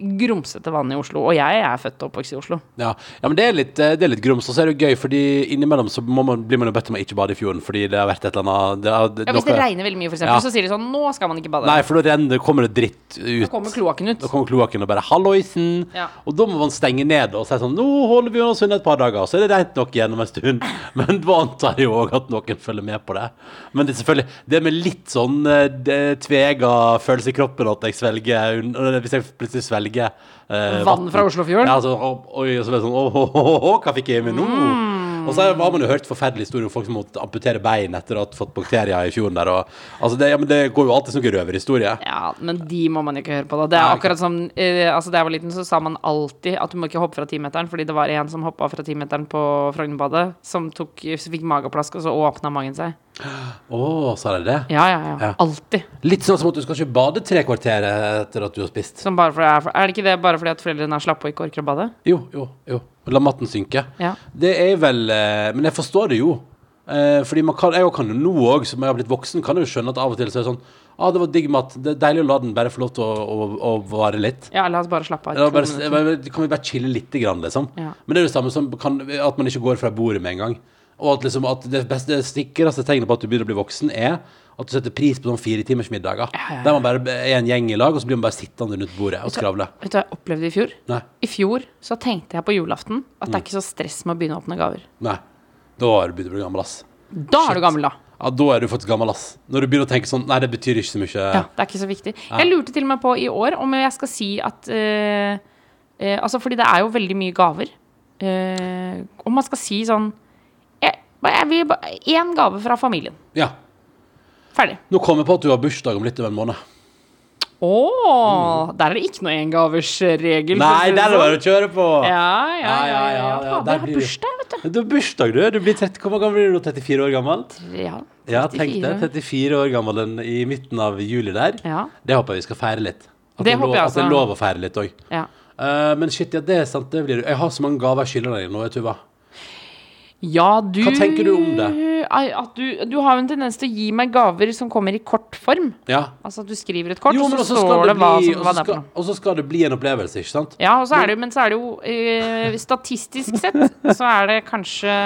Speaker 4: grumsete vann i Oslo. Og jeg er født og oppvokst i Oslo.
Speaker 3: Ja. ja, men det er litt, eh, det er litt grums, og så er det jo gøy, fordi innimellom så må man, blir man jo bedt om å ikke bade i fjorden, fordi det har vært et eller annet det har, det,
Speaker 4: Ja, hvis det
Speaker 3: noe-
Speaker 4: regner veldig mye, for eksempel,
Speaker 3: Ja.
Speaker 4: så sier de sånn Nå skal man ikke bade.
Speaker 3: Nei, for da renner, det- kommer det dritt ut.
Speaker 4: Da kommer kloakken ut.
Speaker 3: Da kommer kloakken og bare 'halloisen'.
Speaker 4: Ja.
Speaker 3: Og da må man stenge ned og si sånn 'nå holder vi oss unna et par dager', så er det rent nok igjen om en stund. (laughs) Men da antar jeg jo òg at noen følger med på det. Men det er selvfølgelig det med litt sånn eh, det tvega følelse i kroppen at jeg svelger un- eh, Hvis jeg plutselig svelger eh,
Speaker 4: Vann fra Oslofjorden?
Speaker 3: Ja, så, å, oi, og så blir det sånn «Å, å, å, å, hva fikk jeg i meg nå?
Speaker 4: Mm.
Speaker 3: Og så har man jo hørt forferdelige historier om folk som måtte amputere bein etter å ha fått bakterier i fjorden der. Og, altså det, ja, men det går jo alltid som en røverhistorie.
Speaker 4: Ja, men de må man ikke høre på, da. Det er
Speaker 3: Nei.
Speaker 4: akkurat som eh, altså, Da jeg var liten, så sa man alltid at du må ikke hoppe fra timeteren, fordi det var en som hoppa fra timeteren på Frognerbadet, som tok, fikk mageplask, og så åpna magen seg.
Speaker 3: Å, sa de det?
Speaker 4: Ja, ja, ja.
Speaker 3: Ja.
Speaker 4: Alltid.
Speaker 3: Litt sånn som at du skal ikke bade tre kvarter etter at du har spist.
Speaker 4: Som bare fordi jeg er, er det ikke det bare fordi at foreldrene er slappe og ikke orker å bade?
Speaker 3: Jo, jo, jo. La matten synke.
Speaker 4: Ja.
Speaker 3: Det er vel eh, Men jeg forstår det jo. Eh, fordi man kan, jeg jo kan jo nå òg, som jeg har blitt voksen, kan jeg jo skjønne at av og til så er det sånn ah, det var digg mat. Det er deilig å la den bare få lov til å, å, å vare litt.
Speaker 4: Ja, la oss bare slappe av. i
Speaker 3: Ja,
Speaker 4: to
Speaker 3: bare,
Speaker 4: minutter.
Speaker 3: bare- kan vi bare chille litt, grann, liksom?
Speaker 4: Ja.
Speaker 3: Men det er det samme som kan, at man ikke går fra bordet med en gang. Og at, liksom, at det beste det sikreste tegnet på at du begynner å bli voksen, er at du setter pris på sånn fire timers middager.
Speaker 4: Ja, ja,
Speaker 3: Der man bare er en gjeng i lag, og så blir man bare sittende rundt bordet og skravle.
Speaker 4: Vet du hva jeg opplevde i fjor?
Speaker 3: Nei.
Speaker 4: I fjor så tenkte jeg på julaften at det er ikke så stress med å begynne å åpne gaver.
Speaker 3: Nei. Da har du begynt å bli gammel, ass.
Speaker 4: Da er du gammel, da.
Speaker 3: Ja, da er du faktisk gammel, ass. Når du begynner å tenke sånn Nei, det betyr ikke så mye.
Speaker 4: Ja, det er ikke så viktig. Jeg lurte til og med på i år om jeg skal si at eh, eh, Altså, fordi det er jo veldig mye gaver. Eh, om man skal si sånn jeg, bare- jeg vil bare Én gave fra familien.
Speaker 3: Ja.
Speaker 4: Ferdig.
Speaker 3: Nå kommer jeg på at du har bursdag om litt over en måned.
Speaker 4: Å! Der er det ikke noe engaversregel. for å
Speaker 3: Nei,
Speaker 4: si det
Speaker 3: der er det
Speaker 4: sånn.
Speaker 3: bare å kjøre på!
Speaker 4: Ja, ja,
Speaker 3: Ja,
Speaker 4: ja.
Speaker 3: ja,
Speaker 4: ja,
Speaker 3: ja, ja, der
Speaker 4: Fader, jeg har
Speaker 3: blir det-
Speaker 4: bursdag, vet du.
Speaker 3: Du har bursdag, du. du blir 30, hvor gammel blir du nå? 34 år gammel?
Speaker 4: Ja,
Speaker 3: Ja, tenk
Speaker 4: 34.
Speaker 3: det. 34 år gammel den, i midten av juli der.
Speaker 4: Ja.
Speaker 3: Det håper jeg vi skal feire litt. At
Speaker 4: Det
Speaker 3: er lov,
Speaker 4: håper jeg
Speaker 3: At det er
Speaker 4: også.
Speaker 3: lov å feire litt òg.
Speaker 4: Ja.
Speaker 3: men shit, ja, det er sant. Det blir, jeg har så mange gaver jeg skylder deg nå, vet du hva.
Speaker 4: Ja, du
Speaker 3: Hva tenker du om det?
Speaker 4: Ai, At du, du har jo en tendens til å gi meg gaver som kommer i kort form.
Speaker 3: Ja.
Speaker 4: Altså at du skriver et kort,
Speaker 3: Jo,
Speaker 4: og
Speaker 3: men
Speaker 4: så
Speaker 3: også skal
Speaker 4: står det
Speaker 3: det
Speaker 4: hva,
Speaker 3: bli,
Speaker 4: som, hva
Speaker 3: også
Speaker 4: det er for
Speaker 3: skal,
Speaker 4: noe.
Speaker 3: også skal det bli en opplevelse, ikke sant?
Speaker 4: Ja, og så er det, jo- men så er det jo eh, Statistisk sett så er det kanskje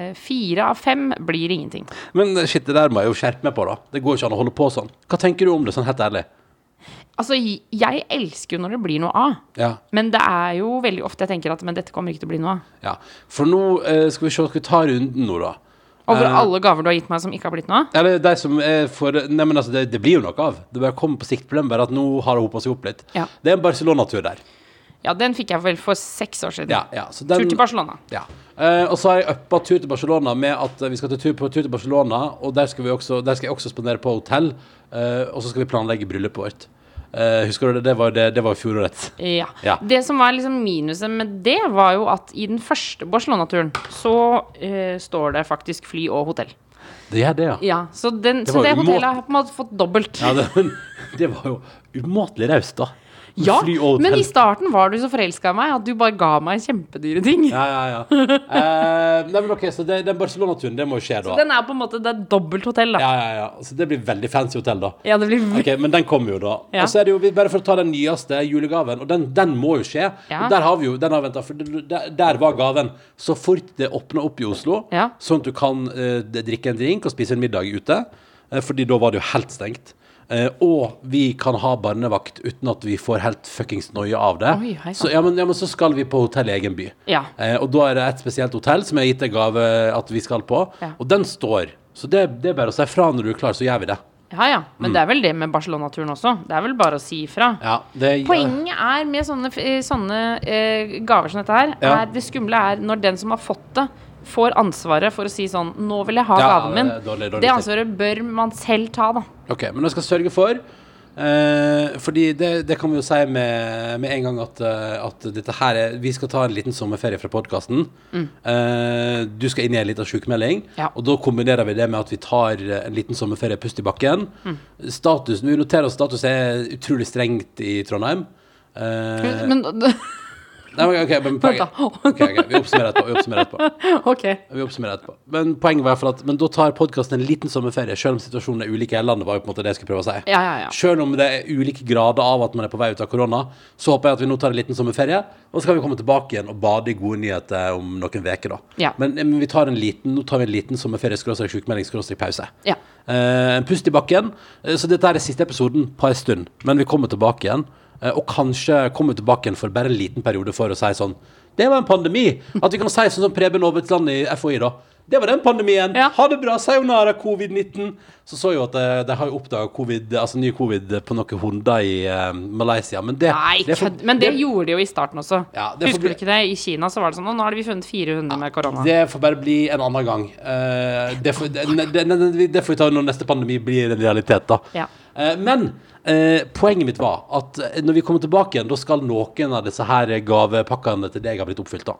Speaker 4: eh, fire av fem blir ingenting.
Speaker 3: Men shit, det der må jeg jo skjerpe meg på, da. Det går ikke an å holde på sånn. Hva tenker du om det, sånn helt ærlig?
Speaker 4: Altså, jeg elsker jo når det blir noe av.
Speaker 3: Ja.
Speaker 4: Men det er jo veldig ofte jeg tenker at Men dette kommer ikke til å bli noe av.
Speaker 3: ja. For nå eh, skal vi se, skal vi ta runden nå, da?
Speaker 4: Over
Speaker 3: Eh,
Speaker 4: alle gaver du har gitt meg som ikke har blitt noe av.
Speaker 3: Eller de som er for Nei, men altså, det, det blir jo noe av. Det bare kommer på sikt på dem, bare at nå har det hopa seg opp litt.
Speaker 4: Ja.
Speaker 3: Det er en Barcelona-tur der.
Speaker 4: Ja, den fikk jeg vel for seks år siden.
Speaker 3: Ja, ja. Så den,
Speaker 4: Tur til Barcelona.
Speaker 3: Ja. Eh, og så har jeg uppa tur til Barcelona med at eh, vi skal til tur på tur til Barcelona, og der skal, vi også, der skal jeg også spandere på hotell, eh, og så skal vi planlegge bryllupet vårt. Eh, husker du det? Det var, det, det var i fjorårets.
Speaker 4: Ja.
Speaker 3: Ja.
Speaker 4: Det som var liksom minuset med det, var jo at i den første Barcelona-turen så eh, står det faktisk fly og hotell.
Speaker 3: Det gjør det, ja.
Speaker 4: Ja, Så, den, det,
Speaker 3: var
Speaker 4: så det
Speaker 3: jo
Speaker 4: hotellet
Speaker 3: umåte-
Speaker 4: har på en måte fått dobbelt.
Speaker 3: ja det, men, det var jo umåtelig raust, da.
Speaker 4: Ja,
Speaker 3: Fly og
Speaker 4: men
Speaker 3: hotell.
Speaker 4: i starten var du så forelska i meg at du bare ga meg kjempedyre ting.
Speaker 3: Ja, ja, ja. Eh, nei, men ok, så det, den Barcelona-turen, det må jo skje, da.
Speaker 4: Den er på en måte Det er dobbelt hotell, da.
Speaker 3: Ja, ja, ja. Så det blir veldig fancy hotell, da.
Speaker 4: Ja, det blir
Speaker 3: Ok, Men den kommer jo, da.
Speaker 4: Mm. Ja.
Speaker 3: Og så er det jo, vi- Bare for å ta den nyeste julegaven, og den, den må jo skje.
Speaker 4: Ja.
Speaker 3: Og der har vi jo, den har ventet, for der, der var gaven. Så fort det åpna opp i Oslo,
Speaker 4: Ja.
Speaker 3: sånn at du kan eh, drikke en drink og spise en middag ute, eh, fordi da var det jo helt stengt. Eh, og vi kan ha barnevakt uten at vi får helt fuckings noie av det.
Speaker 4: Oi, hei sann.
Speaker 3: så, ja, men, ja, men så skal vi på hotell i egen by.
Speaker 4: Ja.
Speaker 3: Eh, og da er det et spesielt hotell som jeg har gitt deg gave at vi skal på,
Speaker 4: Ja.
Speaker 3: og den står. Så det, det er bare å si fra når du er klar, så gjør vi det.
Speaker 4: Ja, ja. Men det er vel det med Barcelona-turen også. Det er vel bare å si ifra.
Speaker 3: Mm. Ja, det
Speaker 4: Poenget er med sånne, f- eh, sånne eh, gaver som dette her,
Speaker 3: Ja.
Speaker 4: er det skumle er når den som har fått det, får ansvaret for å si sånn Nå vil jeg ha
Speaker 3: Ja,
Speaker 4: gaven
Speaker 3: det er
Speaker 4: min.
Speaker 3: dårlig, dårlig
Speaker 4: det
Speaker 3: ting.
Speaker 4: ansvaret bør man selv ta, da.
Speaker 3: Ok, men jeg skal sørge for eh, Fordi det, det kan vi jo si med, med en gang at, eh, at dette her er Vi skal ta en liten sommerferie fra podkasten. Eh, du skal inn i en liten sykemelding.
Speaker 4: Mm. Ja.
Speaker 3: Og da kombinerer vi det med at vi tar eh, en liten sommerferie, pust i bakken.
Speaker 4: Mm.
Speaker 3: Status, Vi noterer oss status er utrolig strengt i Trondheim. Eh,
Speaker 4: Men (laughs)
Speaker 3: nei, men ok, men poenget
Speaker 4: Vent da.
Speaker 3: Ok, ok, Vi oppsummerer etterpå. Vi oppsummerer etterpå.
Speaker 4: OK.
Speaker 3: Vi oppsummerer etterpå. Men poenget var i hvert fall at Men da tar podkasten en liten sommerferie, selv om situasjonen er ulik i hele landet, var jo på en måte det jeg skulle prøve å si.
Speaker 4: Ja, ja, ja.
Speaker 3: Selv om det er ulike grader av at man er på vei ut av korona, så håper jeg at vi nå tar en liten sommerferie, og så kan vi komme tilbake igjen og bade i gode nyheter om noen uker, da.
Speaker 4: Ja.
Speaker 3: Men, men vi tar en liten, nå tar vi en liten sommerferie, skråstrek sjukmelding, skråstrek pause.
Speaker 4: Ja.
Speaker 3: Eh, en pust i bakken. Eh, så dette er den siste episoden på en stund, men vi kommer tilbake igjen. Eh, og kanskje kommer vi tilbake igjen for bare en liten periode for å si sånn Det var en pandemi! At vi kan si sånn som Preben Aabetsland i FHI, da. Det var den pandemien!
Speaker 4: Ja.
Speaker 3: Ha det bra! Sayonara, covid-19! Så så jo at eh, de har jo oppdaga covid, altså ny covid på noen hunder i eh, Malaysia, men det
Speaker 4: Nei,
Speaker 3: det er for-
Speaker 4: kødd. Men det gjorde de jo i starten også.
Speaker 3: Ja, det er
Speaker 4: Husker
Speaker 3: forbi-
Speaker 4: du ikke det? I Kina så var det sånn «Å, Nå har vi funnet 400 med korona.
Speaker 3: Det får bare bli en annen gang. Eh, det, får, det, det, det, det får vi ta når neste pandemi blir en realitet, da.
Speaker 4: Ja.
Speaker 3: Eh, men eh, poenget mitt var at eh, når vi kommer tilbake igjen, da skal noen av disse her gavepakkene til deg ha blitt oppfylt, da.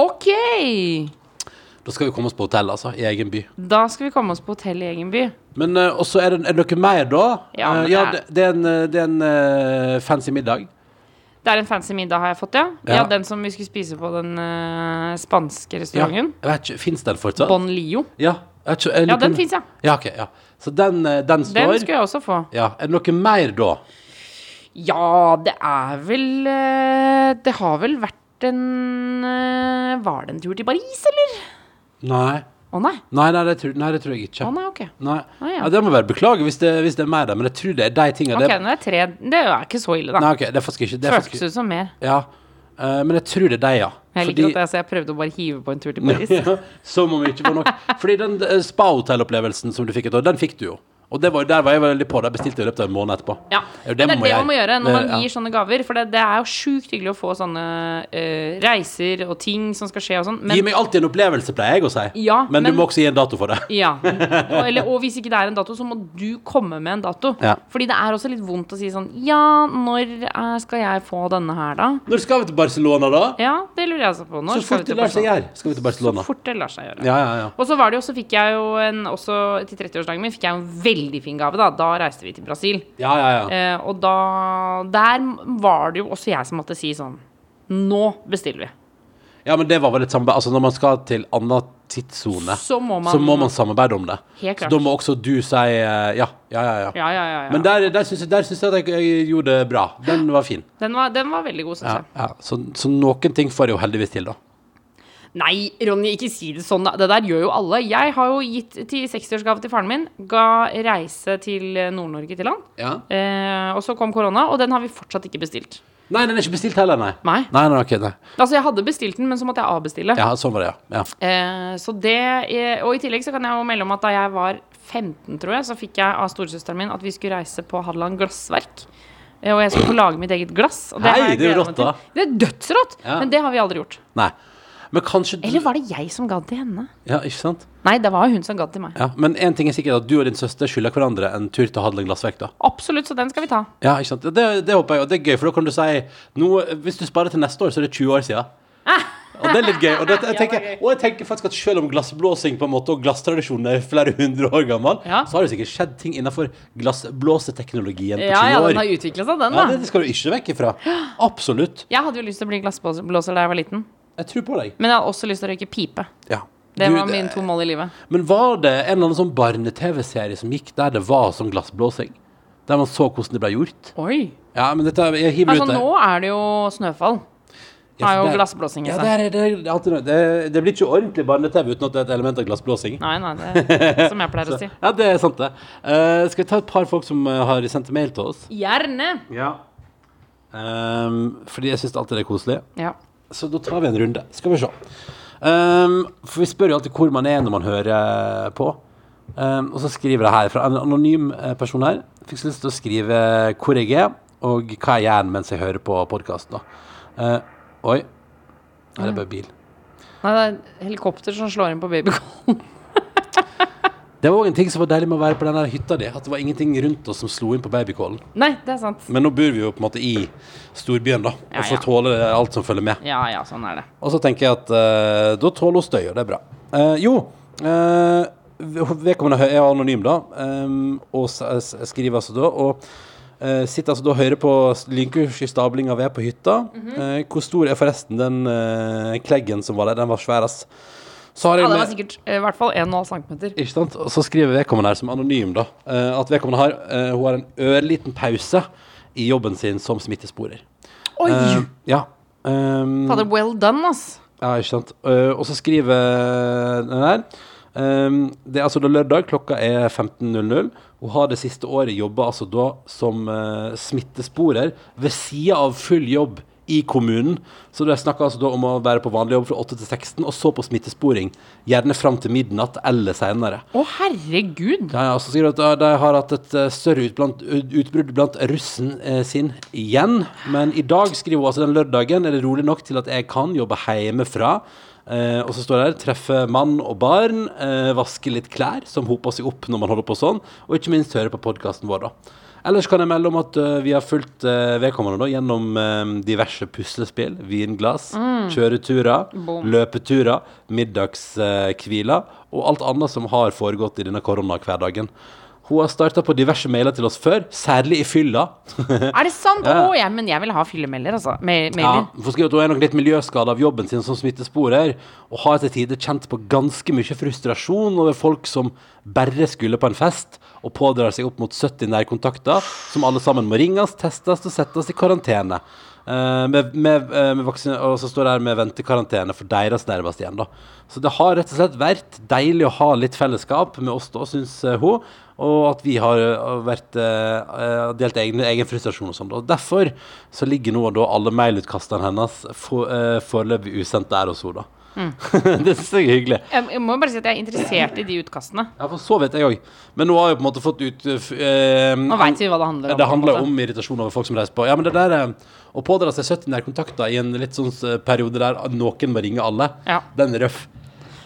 Speaker 4: OK!
Speaker 3: Da skal vi komme oss på hotell, altså. I egen by.
Speaker 4: Da skal vi komme oss på hotell i egen by.
Speaker 3: Men eh, også er det, er det noe mer, da?
Speaker 4: Ja, men
Speaker 3: Eh, ja det,
Speaker 4: det
Speaker 3: det er en, eh, det er en eh, fancy middag.
Speaker 4: Det er en fancy middag har jeg fått, ja.
Speaker 3: Ja.
Speaker 4: Ja, Den som vi skulle spise på den eh, spanske
Speaker 3: Ja,
Speaker 4: restauranten.
Speaker 3: jeg vet ikke, Fins den fortsatt?
Speaker 4: Bon Lio.
Speaker 3: Ja, jeg vet ikke, jeg
Speaker 4: Ja,
Speaker 3: lurer på-
Speaker 4: den fins, ja.
Speaker 3: Ja, ok, ja. Så den, eh, den
Speaker 4: Den
Speaker 3: står.
Speaker 4: skulle jeg også få.
Speaker 3: Ja, Er det noe mer, da?
Speaker 4: Ja, det er vel eh, Det har vel vært en eh, Var det en tur til Paris, eller?
Speaker 3: Nei.
Speaker 4: Å nei.
Speaker 3: Nei, nei, det tror, nei, det tror jeg ikke.
Speaker 4: Å nei, ok.
Speaker 3: Nei.
Speaker 4: Ah, ja.
Speaker 3: ja. det må være beklage hvis det, hvis det er meg der, men jeg tror det er de tinga.
Speaker 4: Ok,
Speaker 3: det,
Speaker 4: men det er tre Det er ikke så ille,
Speaker 3: nei,
Speaker 4: da.
Speaker 3: ok, det er faktisk ikke det er faktisk,
Speaker 4: Føltes ut som mer.
Speaker 3: Ja. Eh, men jeg tror det er de, ja.
Speaker 4: Jeg liker at jeg, så jeg prøvde å bare hive på
Speaker 3: (laughs)
Speaker 4: en tur til Paris.
Speaker 3: Som om det ikke var nok. Fordi den eh, spa-hotellopplevelsen som du fikk et år, den fikk du jo. Og det var, der var jeg veldig på. Der bestilte jeg i løpet av en måned etterpå.
Speaker 4: Ja.
Speaker 3: Ja,
Speaker 4: Det, er det
Speaker 3: jeg-
Speaker 4: man må gjøre når man
Speaker 3: det- ja.
Speaker 4: gir sånne gaver. For det, det er jo sjukt hyggelig å få sånne eh, reiser og ting som skal skje og sånn.
Speaker 3: Gi
Speaker 4: Men
Speaker 3: meg alltid en opplevelse, pleier jeg å si.
Speaker 4: Ja,
Speaker 3: men, du
Speaker 4: men-
Speaker 3: må også gi en dato for det.
Speaker 4: ja. Og, eller, og hvis ikke det er en dato, så må du komme med en dato.
Speaker 3: Ja.
Speaker 4: Fordi det er også litt vondt å si sånn Ja, når eh, skal jeg få denne her, da?
Speaker 3: Når skal vi til Barcelona, da?
Speaker 4: Ja, det lurer jeg også på. Når
Speaker 3: Så fort det lar seg gjøre, skal vi til Barcelona.
Speaker 4: Fort det lar seg gjøre.
Speaker 3: Ja, ja, ja.
Speaker 4: Og så var det jo, så fikk jeg jo en, også til 30-årsdagen min fikk jeg jo en veldig fin gave. Da Da reiste vi til Brasil.
Speaker 3: ja, ja, ja.
Speaker 4: Eh, og da Der var det jo også jeg som måtte si sånn Nå bestiller vi.
Speaker 3: ja men det var vel et samarbeid. Altså, når man skal til annen tidssone,
Speaker 4: Så må man-
Speaker 3: så må man samarbeide om det.
Speaker 4: Helt klart.
Speaker 3: Så da må også du si eh, ja, ja, ja. ja.
Speaker 4: Ja, ja, ja. ja.
Speaker 3: Men der, der syns jeg, der syns jeg at jeg, jeg gjorde det bra. Den var fin.
Speaker 4: den, var, den var veldig god, syns
Speaker 3: Ja, ja. Så, så noen ting får jeg jo heldigvis til, da.
Speaker 4: jeg. Nei, Ronny, ikke si det sånn. da. Det der gjør jo alle. Jeg har jo gitt til 60-årsgave til faren min. Ga reise til Nord-Norge til han. Eh, og så kom korona, og den har vi fortsatt ikke bestilt.
Speaker 3: Nei, den er ikke bestilt heller, nei.
Speaker 4: Nei.
Speaker 3: Nei, nei, ok, nei.
Speaker 4: Altså, jeg hadde bestilt den, men så måtte jeg avbestille.
Speaker 3: Ja, sånn var det, ja. ja.
Speaker 4: Eh, så det, er- og i tillegg så kan jeg jo melde om at da jeg var 15, tror jeg, så fikk jeg av storesøsteren min at vi skulle reise på Hadeland glassverk. Eh, Og jeg skulle få lage mitt eget glass. Og det
Speaker 3: Hei,
Speaker 4: har jeg
Speaker 3: det er jo
Speaker 4: gledet meg
Speaker 3: rått,
Speaker 4: til.
Speaker 3: da.
Speaker 4: Det er dødsrått!
Speaker 3: Ja.
Speaker 4: Men det har vi aldri gjort.
Speaker 3: Nei. Men kanskje du-
Speaker 4: Eller var det jeg som ga det til henne?
Speaker 3: Ja, ikke sant?
Speaker 4: Nei, det var hun som ga det til meg.
Speaker 3: Ja, Men én ting er sikkert, at du og din søster skylder hverandre en tur til Hadeland glassverk, da.
Speaker 4: Absolutt, så den skal vi ta.
Speaker 3: Ja, ikke sant? Det, det håper jeg, og det er gøy, for da kan du si nå, Hvis du sparer til neste år, så er det 20 år
Speaker 4: (laughs)
Speaker 3: siden. Og det er litt gøy. Og, det, jeg tenker, og jeg tenker faktisk at selv om glassblåsing på en måte og glasstradisjonen er flere hundre år gammel,
Speaker 4: Ja.
Speaker 3: så har det sikkert skjedd ting innenfor glassblåseteknologien på 20
Speaker 4: Ja, ja,
Speaker 3: år.
Speaker 4: den har utvikla seg, den,
Speaker 3: ja,
Speaker 4: da.
Speaker 3: det, det skal du ikke vekk
Speaker 4: (gasps)
Speaker 3: ifra. Absolutt.
Speaker 4: Jeg hadde jo lyst til å bli glassblåser da jeg var liten.
Speaker 3: Jeg tror på deg.
Speaker 4: Men jeg hadde også lyst til å røyke pipe.
Speaker 3: Ja.
Speaker 4: Det
Speaker 3: Du, eh,
Speaker 4: var mine to mål i livet.
Speaker 3: Men var det en eller annen sånn barne-TV-serie som gikk der det var sånn glassblåsing? Der man så hvordan det ble gjort?
Speaker 4: Oi.
Speaker 3: Ja, men dette Jeg hiver
Speaker 4: Altså,
Speaker 3: ut det.
Speaker 4: nå er det jo snøfall.
Speaker 3: Ja,
Speaker 4: Har
Speaker 3: for
Speaker 4: jo
Speaker 3: der-
Speaker 4: glassblåsing i
Speaker 3: ja,
Speaker 4: seg.
Speaker 3: der er det, det, er alltid noe. det, det blir ikke ordentlig barne-TV uten at det er et element av glassblåsing.
Speaker 4: Nei, nei, det som jeg
Speaker 3: (laughs)
Speaker 4: pleier å si.
Speaker 3: Ja, det er sant, det. Eh, skal vi ta et par folk som eh, har sendt mail til oss?
Speaker 4: Gjerne!
Speaker 3: Ja. fordi jeg syns alltid det er koselig.
Speaker 4: Ja.
Speaker 3: Så da tar vi en runde. Skal vi se. Ehm, for vi spør jo alltid hvor man er når man hører eh, på. Ehm, og så skriver jeg her fra en anonym eh, person her. Fikk så lyst til å skrive hvor jeg er, og hva jeg gjør mens jeg hører på podkasten. oi. Nei, det er bare bil.
Speaker 4: Nei, det er helikopter som slår inn på babycallen.
Speaker 3: Det var òg en ting som var deilig med å være på den der hytta di, at det var ingenting rundt oss som slo inn på babycallen.
Speaker 4: (laughs) Nei, det er sant.
Speaker 3: Men nå bor vi jo på en måte i storbyen, da, og
Speaker 4: Ja, ja.
Speaker 3: så tåler det alt som følger med.
Speaker 4: Ja ja, sånn er det.
Speaker 3: Og så tenker jeg at eh, da tåler hun støy, og det er bra. Eh, jo, eh, vedkommende hø- er anonym, da, em, og s- s- skriver altså da. og eh, sitter altså da og hører på s- lynkurs i stablinga ved på hytta.
Speaker 4: Mhm.
Speaker 3: Eh, hvor stor er forresten den eh, kleggen som var der? Den var svær, ass. Så har jeg
Speaker 4: Ja, det var
Speaker 3: med-
Speaker 4: sikkert eh, i hvert fall 1,5 cm.
Speaker 3: ikke sant? Og så skriver vedkommende her som anonym da, eh, at vedkommende har, eh, hun har en ørliten pause i jobben sin som smittesporer.
Speaker 4: Oi!
Speaker 3: Eh, ja. Um,
Speaker 4: Fader, well done, ass.
Speaker 3: ja, ikke sant. Eh, og så skriver den her. ehm, det er altså da lørdag, klokka er 15.00. Hun har det siste året jobba altså da som eh, smittesporer ved sida av full jobb i kommunen. Så det er snakk altså da om å være på vanlig jobb fra 8 til 16, og så på smittesporing. Gjerne fram til midnatt eller seinere.
Speaker 4: Å, herregud.
Speaker 3: Ja, ja, og så skriver de at de har hatt et eh, større ut blant, utbrudd blant russen eh, sin igjen. Men i dag, skriver hun altså den lørdagen, er det rolig nok til at jeg kan jobbe hjemmefra. Eh, og så står det her treffe mann og barn, eh, vaske litt klær som hoper seg opp når man holder på sånn, og ikke minst høre på podkasten vår, da. Ellers kan jeg melde om at eh, vi har fulgt eh, vedkommende da, gjennom eh, diverse puslespill, vinglass, kjøreturer, løpeturer, middagshviler og alt annet som har foregått i denne koronahverdagen. Hun har starta på diverse mailer til oss før, særlig i fylla. (laughs)
Speaker 4: Er det sant? Å
Speaker 3: Ja.
Speaker 4: ja, men jeg vil ha fyllemelder, altså. Me
Speaker 3: Ja,
Speaker 4: mailer.
Speaker 3: for skriver at Hun er nok litt miljøskada av jobben sin som smittesporer, og har til tider kjent på ganske mye frustrasjon over folk som bare skulle på en fest, og pådrar seg opp mot 70 nærkontakter, som alle sammen må ringes, testes og settes i karantene. Eh, med, med, eh, med vaksine, og så står det her med ventekarantene for deres nærmeste igjen, da. Så det har rett og slett vært deilig å ha litt fellesskap med oss da, syns eh, hun. Og at vi har eh, vært, eh, eh, delt egen, egen frustrasjon og sånn. da. Og derfor så ligger nå da alle mailutkastene hennes for, eh, foreløpig usendt der hos henne, da.
Speaker 4: Mm.
Speaker 3: (laughs) det synes jeg er hyggelig.
Speaker 4: Jeg, jeg må jo bare si at jeg er interessert i de utkastene.
Speaker 3: Ja, for så vet jeg òg. Men nå har jeg på en måte fått ut eh, f- eh,
Speaker 4: Nå veit vi hva det handler om.
Speaker 3: Det
Speaker 4: på en
Speaker 3: handler
Speaker 4: måte.
Speaker 3: om irritasjon over folk som reiser på. Ja, men det der eh, Å pådra seg 70 nærkontakter i en litt sånn eh, periode der noen må ringe alle,
Speaker 4: Ja.
Speaker 3: den er røff.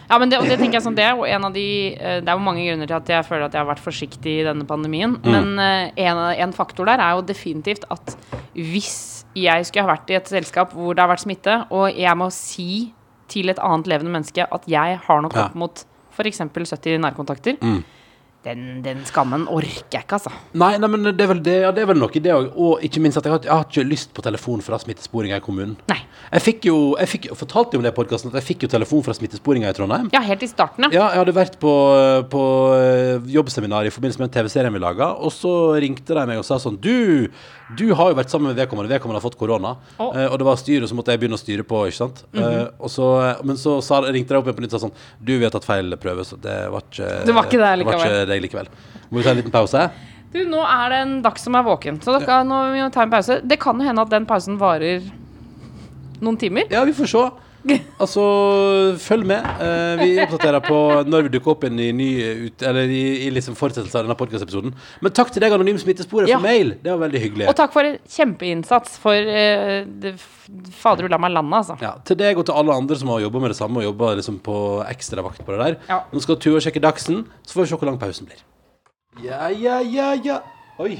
Speaker 4: Ja, men det, og det tenker jeg sånn, det er jo en av de eh, Det er jo mange grunner til at jeg føler at jeg har vært forsiktig i denne pandemien.
Speaker 3: Mm.
Speaker 4: Men eh, en, en faktor der er jo definitivt at hvis jeg skulle ha vært i et selskap hvor det har vært smitte, og jeg må si til et annet levende menneske at jeg har nok
Speaker 3: Ja. Mm.
Speaker 4: opp mot f.eks. 70 nærkontakter, den, den skammen orker jeg ikke, altså.
Speaker 3: Nei, nei, men det er vel, det, ja, det er vel noe i det òg. Og ikke minst at jeg har, jeg har ikke lyst på telefon fra smittesporinga i kommunen.
Speaker 4: Nei.
Speaker 3: Jeg fikk jo, jeg fikk, jeg fortalte jo om det i podkasten at jeg fikk jo telefon fra smittesporinga i Trondheim.
Speaker 4: Ja, helt i starten, ja.
Speaker 3: Ja, jeg hadde vært på, på eh, jobbseminar i forbindelse med en TV-serie vi laga, og så ringte de meg og sa sånn Du, du har jo vært sammen med vedkommende, vedkommende har fått korona.
Speaker 4: Å. Mhm.
Speaker 3: Eh, og det var styret, så måtte jeg begynne å styre på, ikke sant. Eh, og så, men så sa, ringte de opp igjen på nytt og sa sånn Du, vi har tatt feil prøve, så det var ikke
Speaker 4: Det var ikke det
Speaker 3: var ikke deg likevel. Må vi ta en liten pause?
Speaker 4: Du, nå er det en dag som er våken, så dere, nå må vi ta en pause. Det kan jo hende at den pausen varer noen timer.
Speaker 3: Ja, vi får se. Altså, følg med. Eh, vi oppdaterer på når vi dukker opp igjen i, ny ut, eller i, i liksom fortsettelse av denne podkastepisoden. Men takk til deg, Anonym Smittesporet,
Speaker 4: Ja.
Speaker 3: for mail. Det var veldig hyggelig.
Speaker 4: Og takk for en kjempeinnsats for eh, det f- Fader, du la meg lande, altså.
Speaker 3: Ja, til deg og til alle andre som har jobba med det samme og jobba liksom på ekstravakt på det der.
Speaker 4: Ja.
Speaker 3: Nå skal Tuva sjekke Dagsen, så får vi se hvor lang pausen blir. Ja, ja, ja, ja. Oi.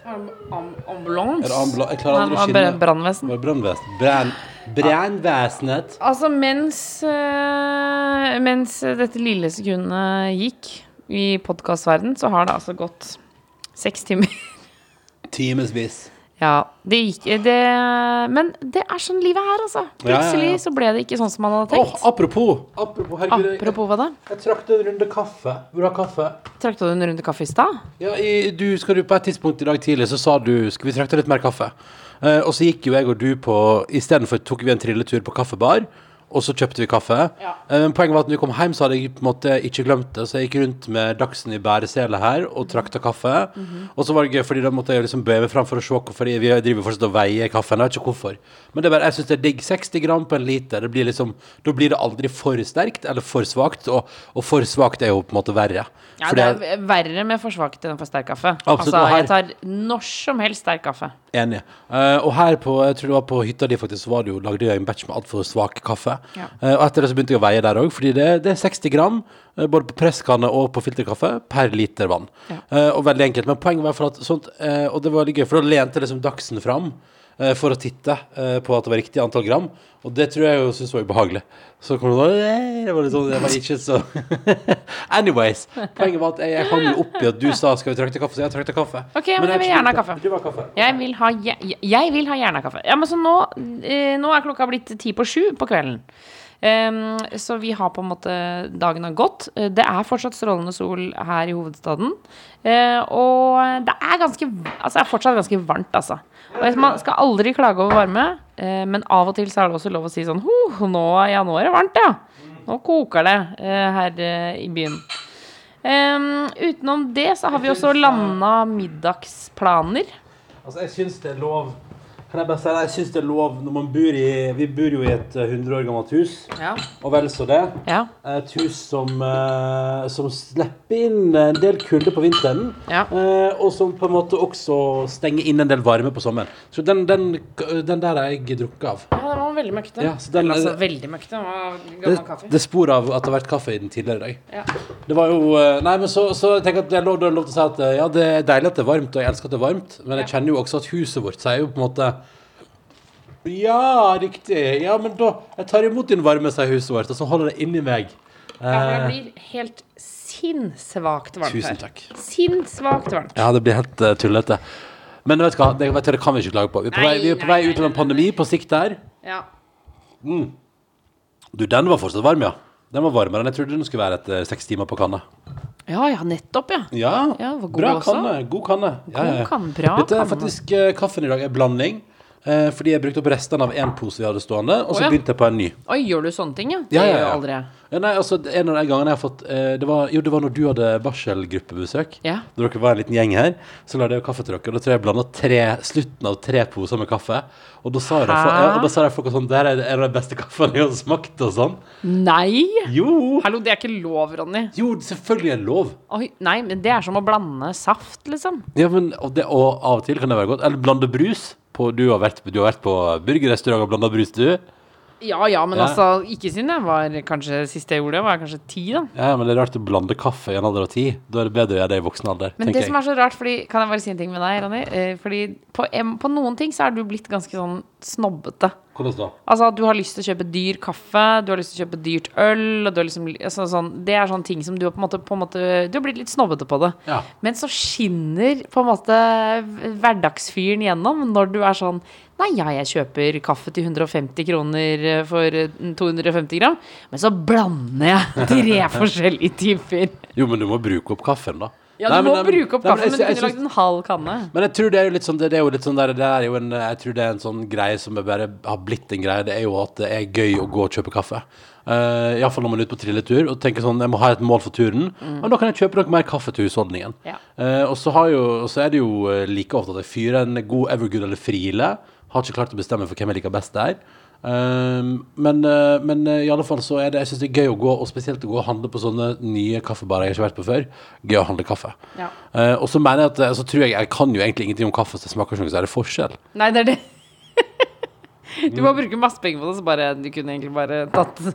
Speaker 3: Er
Speaker 4: Ambulanse?
Speaker 3: det ambula jeg klarer aldri å skille
Speaker 4: Brannvesen. Ah.
Speaker 3: Var det Brannvesen. Brann- Brannvesenet.
Speaker 4: Altså, mens, eh, mens dette lille sekundet gikk i podkastverden, så har det altså gått seks timer. (laughs)
Speaker 3: Timevis.
Speaker 4: Ja, det gikk det, Men det er sånn livet er, altså.
Speaker 3: Ja, ja, ja.
Speaker 4: Plutselig så ble det ikke sånn som man hadde
Speaker 3: Åh, ah.
Speaker 4: tenkt.
Speaker 3: apropos. Apropos, herregud. jeg-
Speaker 4: Apropos hva da?
Speaker 3: Jeg trakk deg en runde kaffe. Vil du ha kaffe?
Speaker 4: Trakk du en runde kaffe i stad?
Speaker 3: Ja, i, du, skal du på et tidspunkt i dag tidlig, så sa du skal vi trakte litt mer kaffe. Eh, og så gikk jo jeg og du på Istedenfor tok vi en trilletur på kaffebar, og så kjøpte vi kaffe.
Speaker 4: Ja.
Speaker 3: Eh, men poenget var at når vi kom hjem, så hadde jeg på en måte ikke glemt det. Så jeg gikk rundt med Dagsen i bæresele her og trakta kaffe.
Speaker 4: Mhm.
Speaker 3: Og så var det gøy, fordi da måtte jeg liksom bøye meg fram for å se hvorfor jeg- vi driver fortsatt og veier kaffen. Jeg vet ikke hvorfor. Men det er bare, jeg syns det er digg. 60 gram på en liter. Det blir liksom, da blir det aldri for sterkt eller for svakt. Og, og for svakt er jo på en måte verre.
Speaker 4: Ja,
Speaker 3: Fordi
Speaker 4: det
Speaker 3: jeg-
Speaker 4: er verre med for svakt enn for sterk kaffe.
Speaker 3: Absolutt,
Speaker 4: altså,
Speaker 3: og her-
Speaker 4: jeg tar når som helst sterk kaffe.
Speaker 3: Enig. Eh, og her på, jeg tror det var på hytta di faktisk, så var det jo, lagde jeg en batch med altfor svak kaffe.
Speaker 4: Ja.
Speaker 3: Eh, og etter det så begynte jeg å veie der òg, fordi det, det er 60 gram eh, både på presskanne og på filterkaffe per liter vann.
Speaker 4: Ja.
Speaker 3: Eh, og veldig enkelt. Men poenget var for at sånt, eh, og det var veldig gøy, for da lente liksom Dagsen fram eh, for å titte eh, på at det var riktig antall gram, og det tror jeg jo syntes var ubehagelig. Så kom det da Det var litt sånn, det var ikke så (laughs) Anyways. Poenget var at jeg, jeg hang jo opp i at du sa 'skal vi trakte kaffe', så jeg trakta kaffe.
Speaker 4: Ok, men jeg vil
Speaker 3: absolutt-
Speaker 4: gjerne ha kaffe.
Speaker 3: Du vil ha kaffe.
Speaker 4: Jeg vil ha, je- jeg, vil ha hjernekaffe. Ja, men så nå, eh, nå er klokka blitt ti på sju på kvelden. Ehm, så vi har på en måte Dagen har gått. Eh, Det er fortsatt strålende sol her i hovedstaden. Eh, og det er ganske Altså, det er fortsatt ganske varmt, altså. Og jeg- man skal aldri klage over varme, eh, men av og til så er det også lov å si sånn Ho, nå, ja, nå er det varmt, ja. Nå koker det eh, her eh, i byen. Ehm, utenom det så har vi også landa middagsplaner.
Speaker 3: Altså, jeg syns det er lov Kan jeg bare si det? Jeg syns det er lov når man bor i Vi bor jo i et eh, 100 år gammelt hus,
Speaker 4: Ja.
Speaker 3: og vel så det.
Speaker 4: Ja.
Speaker 3: Et hus som, eh, som slipper inn en del kulde på vinteren.
Speaker 4: Ja.
Speaker 3: eh, og som på en måte også stenger inn en del varme på sommeren. Så den, den, den der har jeg drukket av.
Speaker 4: Ja, den var veldig møkkete.
Speaker 3: Ja, så den- eh,
Speaker 4: Eller, altså, veldig møkkete. Den var
Speaker 3: Det,
Speaker 4: gammel kaffe.
Speaker 3: det er spor av at det har vært kaffe i den tidligere i dag.
Speaker 4: Ja.
Speaker 3: Det var jo eh, Nei, men så, så jeg tenker at det er lov, det er lov til å si at eh, ja, det er deilig at det er varmt, og jeg elsker at det er varmt, men jeg kjenner jo også at huset vårt sier jo på en måte Ja, riktig. Ja, men da Jeg tar imot din varme, sier huset vårt, og så holder det inni meg. Eh,
Speaker 4: Ja, for det blir helt sinnssvakt varmt
Speaker 3: Tusen
Speaker 4: her.
Speaker 3: takk.
Speaker 4: Sinnssvakt varmt.
Speaker 3: Ja, det blir helt eh, tullete. Men vet du hva, det, vet du, det kan vi ikke klage på. Vi er på
Speaker 4: Nei,
Speaker 3: vei, vi er på
Speaker 4: nei,
Speaker 3: vei
Speaker 4: nei,
Speaker 3: ut av en pandemi på sikt der.
Speaker 4: Ja.
Speaker 3: Du, den var fortsatt varm, ja. Den var varmere enn jeg trodde den skulle være etter seks timer på kanna.
Speaker 4: ja, ja, nettopp, ja.
Speaker 3: Ja,
Speaker 4: Ja, det var god
Speaker 3: bra
Speaker 4: også.
Speaker 3: kanne. God kanne.
Speaker 4: God kan- bra
Speaker 3: Dette er
Speaker 4: kanne.
Speaker 3: faktisk eh, Kaffen i dag er blanding eh, fordi jeg brukte opp restene av én pose vi hadde stående, og så
Speaker 4: Å, ja.
Speaker 3: begynte jeg på en ny.
Speaker 4: Oi, gjør du sånne ting, ja? Det
Speaker 3: Ja, ja,
Speaker 4: gjør
Speaker 3: ja.
Speaker 4: jeg aldri.
Speaker 3: Ja, nei, altså, en av de gangene jeg har fått eh, det var, Jo, det var når du hadde barselgruppebesøk.
Speaker 4: Ja.
Speaker 3: Når dere var en liten gjeng her, så lagde jeg jo kaffe til dere. Og da tror jeg jeg blanda tre, slutten av tre poser med kaffe. Og da sa de folk,
Speaker 4: Hæ?
Speaker 3: ja, og da sa de folk sånn Der er det en av de beste kaffene jeg har smakt, og sånn.
Speaker 4: Nei!
Speaker 3: Jo!
Speaker 4: Hallo, det er ikke lov, Ronny.
Speaker 3: Jo, selvfølgelig er det lov.
Speaker 4: Oi, nei, men det er som å blande saft, liksom.
Speaker 3: Ja, men, og, det, og av og til kan det være godt. Eller blande brus. På, du, har vært, du har vært på burgerrestaurant og blanda brus, du.
Speaker 4: Ja ja, men
Speaker 3: Ja.
Speaker 4: altså, ikke siden jeg var kanskje Siste jeg gjorde det, var jeg kanskje ti, da.
Speaker 3: Ja, men det er rart å blande kaffe i en alder av ti. Da er det bedre å gjøre det i voksen alder.
Speaker 4: Men
Speaker 3: tenker
Speaker 4: det som er så rart, fordi, kan jeg bare si en ting med deg, Ronny? Eh, Fordi på, em- på noen ting så er du blitt ganske sånn snobbete.
Speaker 3: jeg. Hvordan da?
Speaker 4: Altså at du har lyst til å kjøpe dyr kaffe, du har lyst til å kjøpe dyrt øl og du har liksom, altså, sånn, Det er sånne ting som du har på en måte, på en måte Du har blitt litt snobbete på det.
Speaker 3: Ja.
Speaker 4: Men så skinner på en måte hverdagsfyren gjennom når du er sånn Nei, ja, jeg kjøper kaffe til 150 kroner eh, for eh, 250 gram, men så blander jeg (laughs) tre forskjellige typer.
Speaker 3: Jo, men du må bruke opp kaffen, da.
Speaker 4: Ja, du
Speaker 3: Nei,
Speaker 4: må
Speaker 3: men-
Speaker 4: bruke opp
Speaker 3: Nei, men jeg sy-
Speaker 4: kaffen, men du
Speaker 3: jeg
Speaker 4: kunne
Speaker 3: syns-
Speaker 4: lagd en halv kanne.
Speaker 3: Men jeg tror det er jo litt sånn, det er jo litt sånn der, det er jo en, jeg tror det er en sånn greie som er bare har blitt en greie, det er jo at det er gøy å gå og kjøpe kaffe. Uh, Iallfall når man er ute på trilletur og tenker sånn, jeg må ha et mål for turen, men da kan jeg kjøpe noe mer kaffe til husholdningen.
Speaker 4: Ja.
Speaker 3: Eh, og, så har jo, og så er det jo eh, like ofte at jeg fyrer en god Evergood eller Friele, har ikke klart å bestemme for hvem jeg liker best der. Um, men, eh, men eh, i alle fall så er det Jeg synes det er gøy å gå Og spesielt å gå og handle på sånne nye kaffebarer Jeg har ikke vært på før Gøy å handle kaffe
Speaker 4: Ja.
Speaker 3: Eh, og så mener jeg at eh, så tror jeg, jeg kan jo egentlig ingenting om kaffe, så det smaker ikke noe særlig forskjell.
Speaker 4: Nei, det er det. (laughs) Du må
Speaker 3: Mm.
Speaker 4: bruke masse penger på det, så bare du kunne egentlig bare tatt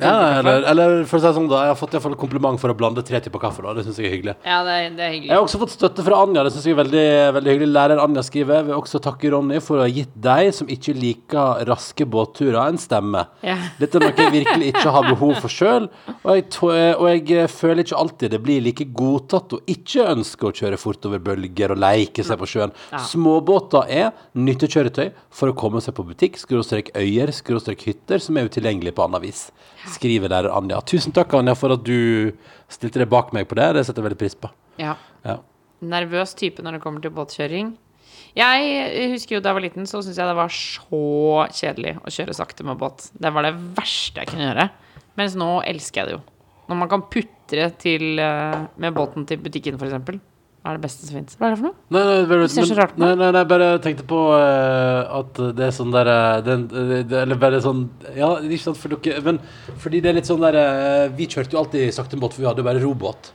Speaker 3: Ja, eller, eller for å si det sånn da, jeg har fått i hvert fall kompliment for å blande tre typer kaffe. da, Det syns jeg er hyggelig.
Speaker 4: Ja, det er, det er
Speaker 3: Jeg
Speaker 4: hyggelig.
Speaker 3: har også fått støtte fra Anja. det synes jeg er veldig, veldig hyggelig. Lærer Anja skriver vil også takke Ronny for å ha gitt deg som ikke liker raske båtturer, en stemme.
Speaker 4: Ja.
Speaker 3: Dette er noe jeg virkelig ikke har behov for sjøl, og, jeg tå- og jeg eh, føler ikke alltid det blir like godtatt å ikke ønske å kjøre fort over bølger og leike seg på sjøen. Småbåter er nyttekjøretøy for å komme seg på butikk, skråstrek øyer, skråstrek hytter, som er utilgjengelige på annet vis. Skriver lærer Anja. Tusen takk, Anja, for at du stilte deg bak meg på det. Det setter jeg veldig pris på.
Speaker 4: Ja.
Speaker 3: Ja.
Speaker 4: Nervøs type når det kommer til båtkjøring. Jeg eh, husker jo da jeg var liten, så syntes jeg det var så kjedelig å kjøre sakte med båt. Det var det verste jeg kunne gjøre. Mens nå elsker jeg det jo. Når man kan putre til, eh, med båten til butikken, for eksempel. Det er det beste som fins. Hva er det for noe?
Speaker 3: Nei, nei, bare,
Speaker 4: ser så rart på
Speaker 3: nei, nei, nei, bare tenkte på eh, at det er sånn der eh, den, eh, det, Eller bare sånn Ja, det er ikke sant for dere Men fordi det er litt sånn der eh, Vi kjørte jo alltid sakte båt, for vi hadde jo bare robåt.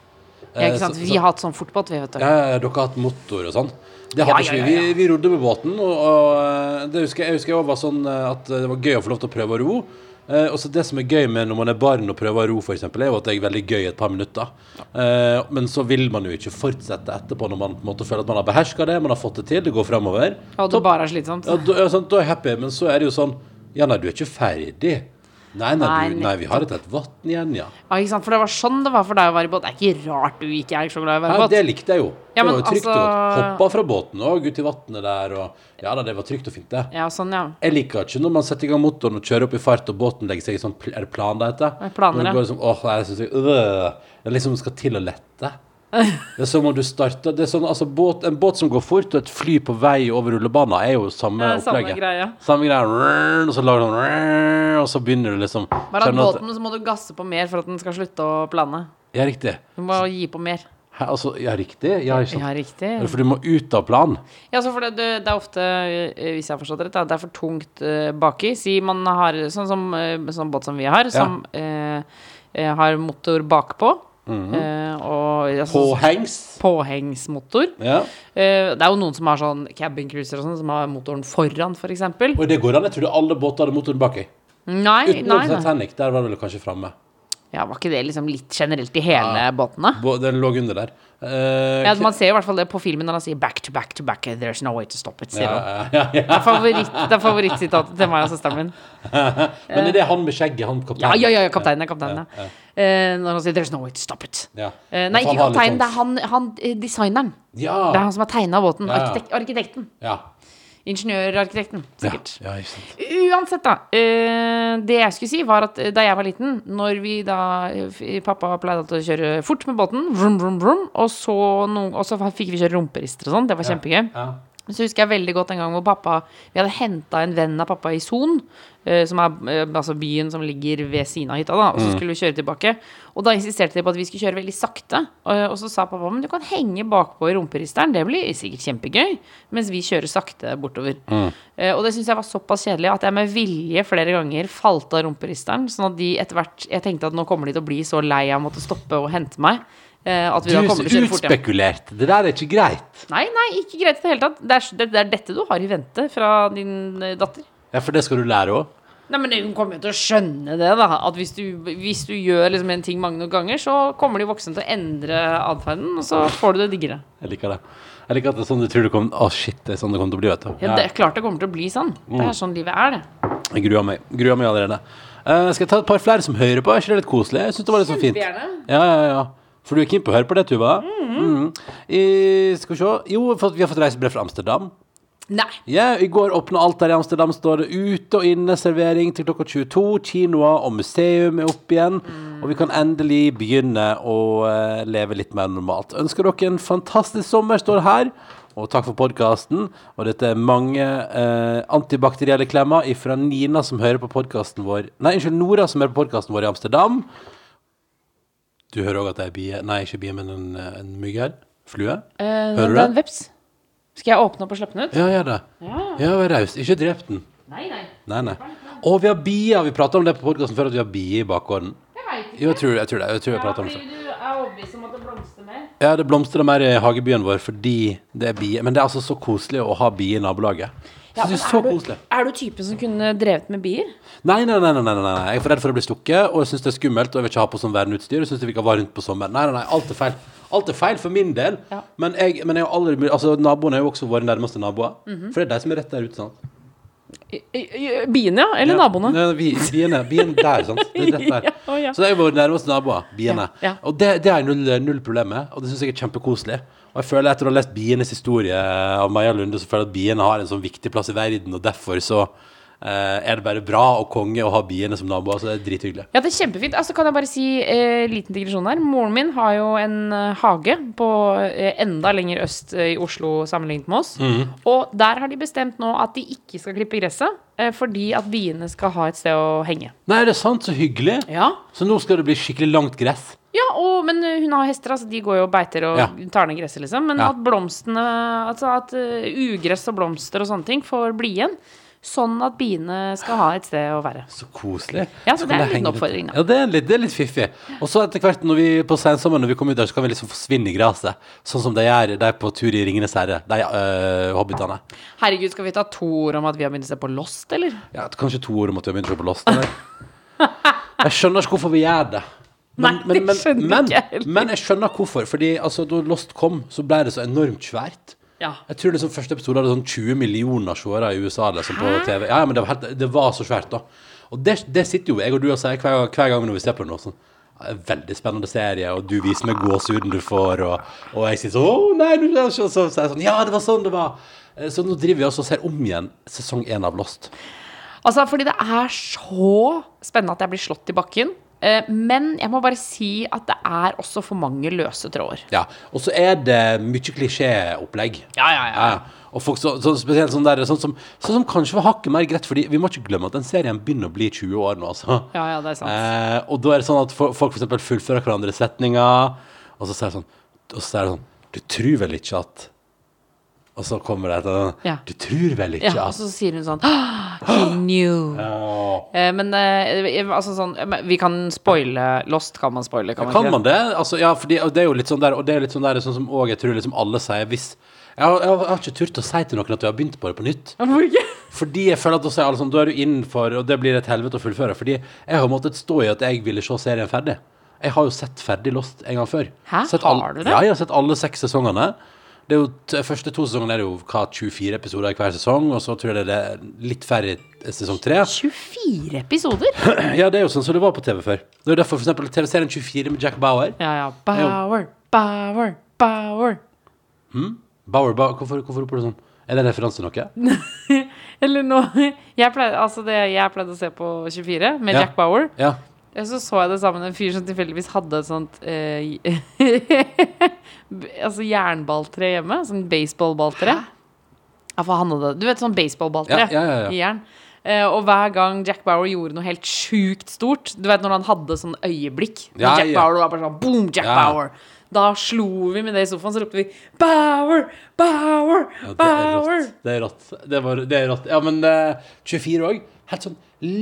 Speaker 3: Eh,
Speaker 4: Ja, ikke sant?
Speaker 3: så-
Speaker 4: Vi har hatt sånn fortbåt, vi, vet du.
Speaker 3: Ja, ja, ja, Eh, dere har hatt motor og sånn. Det hadde
Speaker 4: Ja,
Speaker 3: ikke
Speaker 4: ja,
Speaker 3: vi.
Speaker 4: ja,
Speaker 3: Vi,
Speaker 4: ja.
Speaker 3: vi rodde med båten, og, og eh, det husker jeg, jeg husker jeg også var sånn eh, at det var gøy å få lov til å prøve å ro. Eh, og så Det som er gøy med når man er barn og prøver å ro, for eksempel, er jo at det er veldig gøy et par minutter. Eh, men så vil man jo ikke fortsette etterpå når man på en måte føler at man har beherska det, man har fått det til, det går framover.
Speaker 4: Og det bare er slitsomt.
Speaker 3: Ja, da, ja, sant, da er jeg happy, men så er det jo sånn Ja, nei, du er ikke ferdig. Nei, nei, du,
Speaker 4: Nei,
Speaker 3: nei vi har et helt vann igjen, ja.
Speaker 4: Ja, ikke sant? For det var sånn det var for deg å være i båt. Det er ikke rart du ikke er så glad i å være i
Speaker 3: Ja,
Speaker 4: båt.
Speaker 3: det likte jeg jo. det
Speaker 4: Ja, men
Speaker 3: var jo trygt og
Speaker 4: altså-
Speaker 3: godt. Hoppa fra båten òg, ut i vannet der og Ja da, det var trygt og fint, det.
Speaker 4: Ja, sånn, ja.
Speaker 3: Jeg liker ikke når man setter i gang motoren og kjører opp i fart, og båten legger seg i sånn pl- Er det plan det heter?
Speaker 4: Ja, planer,
Speaker 3: Når
Speaker 4: ja.
Speaker 3: det går liksom, åh, nei, jeg synes jeg, øh, det er liksom skal til å lette.
Speaker 4: (laughs)
Speaker 3: Det er som om du starter Det er sånn, altså båt, En båt som går fort, og et fly på vei over rullebanen, er jo samme
Speaker 4: Ja, samme
Speaker 3: opplegget.
Speaker 4: greia.
Speaker 3: Samme greia. rrrr, Og så lager du sånn rrrr, Og så begynner du liksom
Speaker 4: Bare at
Speaker 3: kjenner at-
Speaker 4: båten, så må du gasse på mer for at den skal slutte å plane.
Speaker 3: Ja, riktig.
Speaker 4: Du må gi på mer.
Speaker 3: Hæ, Altså, ja, riktig. Ja, ikke sant.
Speaker 4: Ja, riktig.
Speaker 3: Eller For Sånn. du må ut av planen.
Speaker 4: Ja, så for det, det det er ofte, eh, hvis jeg har forstått det rett, da, det er for tungt eh, baki. Si man har sånn som eh, sånn båt som vi har, som eh, eh, har motor bakpå. eh, og ja,
Speaker 3: Mhm.
Speaker 4: sånn-
Speaker 3: Påhengs.
Speaker 4: påhengsmotor.
Speaker 3: Ja.
Speaker 4: Eh, det er jo noen som har sånn cabin cruiser og sånn, som har motoren foran, f.eks. For eksempel.
Speaker 3: Og det går an. Jeg trodde alle båter hadde motoren baki.
Speaker 4: nei, nei,
Speaker 3: Utenom sånn
Speaker 4: nei.
Speaker 3: Titanic. Der var det vel kanskje framme.
Speaker 4: Ja, var ikke det liksom litt generelt i hele
Speaker 3: Ja.
Speaker 4: båtene?
Speaker 3: Bå- Den lå under der. Eh,
Speaker 4: Ja, man ser jo i hvert fall det på filmen når han sier 'back to back to back', 'there's no way to stop it'. Sier han.
Speaker 3: ja, ja, ja.
Speaker 4: (laughs) Det er favoritt- det er favorittsitatet til meg og søsteren min.
Speaker 3: Men er det han med skjegget, han
Speaker 4: Ja,
Speaker 3: kapteinen?
Speaker 4: ja, ja, ja kapteinen er kapteinen, ja. Eh, når han sier 'there's no way to stop it'.
Speaker 3: Ja.
Speaker 4: Eh, nei,
Speaker 3: For
Speaker 4: ikke
Speaker 3: han har litt
Speaker 4: kapteinen,
Speaker 3: sånn-
Speaker 4: det er han, han eh, designeren.
Speaker 3: Ja.
Speaker 4: Det er han som har tegna båten.
Speaker 3: Ja, ja.
Speaker 4: Arkitekt, arkitekten.
Speaker 3: ja.
Speaker 4: Ingeniørarkitekten,
Speaker 3: Ja.
Speaker 4: sikkert.
Speaker 3: ja, ikke sant.
Speaker 4: Uansett, da. eh, det jeg skulle si, var at eh, da jeg var liten, når vi da eh, f- Pappa pleide alltid å kjøre fort med båten, vroom, vroom, vroom, og, så no, og så fikk vi kjøre rumperister og sånn. Det var kjempegøy.
Speaker 3: Ja.
Speaker 4: Men så husker jeg veldig godt en gang hvor pappa Vi hadde henta en venn av pappa i Son, eh, som er eh, altså byen som ligger ved siden av hytta, da, og så skulle vi kjøre tilbake. Og da insisterte de på at vi skulle kjøre veldig sakte. Og, og så sa pappa men du kan henge bakpå i rumperisteren, det blir sikkert kjempegøy. Mens vi kjører sakte bortover. Eh, og det syns jeg var såpass kjedelig at jeg med vilje flere ganger falt av rumperisteren. Sånn at de etter hvert Jeg tenkte at nå kommer de til å bli så lei av å måtte stoppe og hente meg. eh, At vi
Speaker 3: Du
Speaker 4: da
Speaker 3: er så
Speaker 4: kommer til å kjøre fort hjem.
Speaker 3: utspekulert. Det der er ikke greit.
Speaker 4: Nei, nei, ikke greit i det hele tatt. Det er, det, det er dette du har i vente fra din eh, datter.
Speaker 3: Ja, for det skal du lære òg.
Speaker 4: Nei, men Hun kommer jo til å skjønne det. da At Hvis du, hvis du gjør liksom en ting mange nok ganger, så kommer de voksne til å endre atferden, og så får du det diggere.
Speaker 3: Jeg liker det. Jeg liker at det er sånn du tror det kommer Å, shit, det er sånn det kommer til å bli, vet du.
Speaker 4: Ja, det er klart det kommer til å bli sånn. Det
Speaker 3: Mm.
Speaker 4: er sånn livet er, det.
Speaker 3: Jeg gruer meg. Gruer meg allerede. Eh, skal jeg ta et par flere som hører på? Er ikke det litt koselig? Jeg synes det var litt sånn fint.
Speaker 4: Kjempegjerne.
Speaker 3: Ja, ja, ja. For du er keen på å høre på det, Tuva? Mhm. I, skal vi se Jo, for vi har fått reisebrev fra Amsterdam.
Speaker 4: Nei.
Speaker 3: Ja, I går åpna alt her i Amsterdam. Står det ute og inne servering til klokka 22. Kinoer og museum er opp igjen. Og vi kan endelig begynne å eh, leve litt mer normalt. Ønsker dere en fantastisk sommer, står det her. Og takk for podkasten. Og dette er mange eh, antibakterielle klemmer fra Nina som hører på podkasten vår Nei, unnskyld, Nora som hører på podkasten vår i Amsterdam. Du hører òg at det er bie Nei, ikke bie, men en, eh, en mygg her. Flue.
Speaker 4: det
Speaker 3: hører
Speaker 4: er en
Speaker 3: du det?
Speaker 4: veps. Skal jeg åpne opp og slippe den ut?
Speaker 3: Ja, gjør det. Ja, vær raus. Ikke drep den.
Speaker 4: Nei, nei.
Speaker 3: Nei, nei. Og vi har bier. Vi prata om det på podkasten før, at vi har bier i bakgården.
Speaker 4: Jeg veit
Speaker 3: Jo, jeg tror, jeg tror det. Jeg tror jeg pratet om det.
Speaker 4: du er overbevist om at det blomstrer mer.
Speaker 3: Ja, det blomstrer mer i hagebyen vår fordi det er bier. Men det er altså så koselig å ha bier i nabolaget.
Speaker 4: Ja,
Speaker 3: Synes det er
Speaker 4: men
Speaker 3: så
Speaker 4: er, du,
Speaker 3: koselig.
Speaker 4: er du typen som kunne drevet med bier?
Speaker 3: Nei, nei, nei, nei, nei, nei, nei. Jeg er for redd for å bli stukket, og jeg syns det er skummelt, og jeg vil ikke ha på sånn verneutstyr. Jeg syns vi kan være rundt på sommeren. Nei, nei, nei, alt er feil. Alt er feil for min del.
Speaker 4: Ja.
Speaker 3: Men, jeg, men jeg har aldri blitt- altså, naboene er jo også våre nærmeste naboer.
Speaker 4: Mhm.
Speaker 3: For det er de som er rett der ute, sant.
Speaker 4: I- i- i- Biene, ja? Eller naboene?
Speaker 3: Ja, vi, biene, bien der, sant? Det
Speaker 4: (laughs)
Speaker 3: er rett der.
Speaker 4: Ja, å ja.
Speaker 3: Så det er våre nærmeste naboer, biene.
Speaker 4: Ja, ja.
Speaker 3: Og det, det er null, null problem med, og det syns jeg er kjempekoselig. Og jeg føler etter å ha lest bienes historie av Maja Lunde, så føler jeg at biene har en sånn viktig plass i verden, og derfor så eh, er det bare bra og konge å ha biene som naboer, så det er drithyggelig.
Speaker 4: Ja, det er kjempefint. Altså, kan jeg bare si eh, liten digresjon her. Moren min har jo en eh, hage på eh, enda lenger øst eh, i Oslo sammenlignet med oss.
Speaker 3: Mhm.
Speaker 4: Og der har de bestemt nå at de ikke skal klippe gresset, eh, fordi at biene skal ha et sted å henge.
Speaker 3: Nei, det er sant, så hyggelig.
Speaker 4: Ja,
Speaker 3: Så nå skal det bli skikkelig langt gress.
Speaker 4: ja og, men eh, hun har hester, altså de går jo og beiter og
Speaker 3: Ja.
Speaker 4: tar ned gresset, liksom. Men
Speaker 3: Ja.
Speaker 4: at blomstene, altså at eh, ugress og blomster og sånne ting får bli igjen, sånn at biene skal ha et sted å være.
Speaker 3: Så koselig.
Speaker 4: Ja, så det
Speaker 3: kan
Speaker 4: er
Speaker 3: jeg henge litt-
Speaker 4: en liten oppfordring, da.
Speaker 3: Ja, det er litt, det er litt fiffig. Og så etter hvert når vi på sensommeren når vi kommer ut der, så kan vi liksom forsvinne i gresset. Sånn som de gjør de på tur i Ringenes herre, de øh, hobbitene.
Speaker 4: Herregud, skal vi ta to ord om at vi har begynt å se på Lost, eller?
Speaker 3: Ja, kanskje to år om at vi har begynt å se på Lost. Eller? Jeg skjønner ikke hvorfor vi gjør det.
Speaker 4: Nei, det skjønner
Speaker 3: men,
Speaker 4: ikke jeg heller.
Speaker 3: men jeg skjønner hvorfor. Fordi altså, da Lost kom, så ble det så enormt svært.
Speaker 4: Ja.
Speaker 3: Jeg tror liksom første episode hadde sånn 20 millioner seere i USA liksom, på TV. Ja, ja, men det var, helt, det var så svært, da. Og det, det sitter jo jeg og du og sier hver, hver gang når vi ser på noe sånn. «Ja, det er en Veldig spennende serie, og du viser meg gåsehuden du får, og, og jeg sier sånn Å, nei, du og så, så, sier jeg sånn Ja, det var sånn det var. Eh, Så nå driver vi også og ser om igjen sesong én av Lost.
Speaker 4: Altså, fordi det er så spennende at jeg blir slått i bakken. Eh, Men jeg må bare si at det er også for mange løse tråder.
Speaker 3: Ja. Og så er det mye klisjéopplegg.
Speaker 4: Ja, ja, ja.
Speaker 3: Og folk så, så spesielt sånn der sånn som, sånn som kanskje var hakket mer greit, fordi vi må ikke glemme at den serien begynner å bli 20 år nå, altså.
Speaker 4: Ja, ja, det er sant.
Speaker 3: Eh, og da er det sånn at fo- folk for eksempel fullfører hverandre setninger, og så sier det sånn Og så er det sånn Du tror vel ikke at Og så kommer det etter
Speaker 4: Ja.
Speaker 3: Du tror vel ikke
Speaker 4: Ja, og
Speaker 3: at
Speaker 4: så sier hun sånn (gasps) «Ah, She knew.
Speaker 3: Åh.
Speaker 4: Eh, Men eh, altså sånn eh, men Vi kan spoile Lost, kan man spoile? Kan man,
Speaker 3: Kan
Speaker 4: ikke
Speaker 3: man det? Altså, ja, fordi, og det er jo litt sånn der, og det er litt sånn der sånn som også jeg tror liksom alle sier hvis jeg har, jeg har- jeg har ikke turt å si til noen at vi har begynt på det på nytt.
Speaker 4: det? (laughs) Hvorfor ikke?
Speaker 3: Fordi jeg føler at da sier alle sånn, da er du innenfor, og det blir et helvete å fullføre. Fordi jeg har måttet stå i at jeg ville se serien ferdig. Jeg har jo sett ferdig Lost en gang før.
Speaker 4: Hæ?
Speaker 3: Sett all-
Speaker 4: Har du det?
Speaker 3: Ja, jeg har sett alle seks sesongene. Det er jo, t- første to sesongene er det jo hva, 24 episoder i hver sesong, og så tror jeg det er litt færre i sesong tre. (clears throat)
Speaker 4: 24 episoder?
Speaker 3: (laughs) Ja, det er jo sånn som det var på TV før. Det er jo derfor for eksempel TV-serien 24 med Jack Bauer.
Speaker 4: Ja, ja. Bauer, Bauer, Bauer.
Speaker 3: Bauer, Bauer hvorfor, hvorfor roper du sånn? Er det en referanse til noe?
Speaker 4: Eller nå (laughs) jeg pleide, altså det, jeg pleide å se på 24 med
Speaker 3: Ja.
Speaker 4: Jack Bauer.
Speaker 3: Ja.
Speaker 4: Ja, Så så jeg det sammen med en fyr som tilfeldigvis hadde et sånt eh, (laughs) altså jernballtre hjemme. Sånn baseballballtre. Ja, for han hadde Du vet sånn baseballbaltre
Speaker 3: Ja, ja, ja, ja.
Speaker 4: i jern. Eh, og hver gang Jack Bauer gjorde noe helt sjukt stort Du vet når han hadde sånn øyeblikk? Når
Speaker 3: Ja,
Speaker 4: Jack
Speaker 3: ja.
Speaker 4: Bauer var bare sånn Boom, Jack
Speaker 3: Ja.
Speaker 4: Bauer! Da slo vi med det i sofaen, så ropte vi Bauer! Bauer!
Speaker 3: Ja, det er
Speaker 4: Bauer!
Speaker 3: rått. Det er rått. Det var, det er rått. Ja, men eh, 24 òg. Helt sånn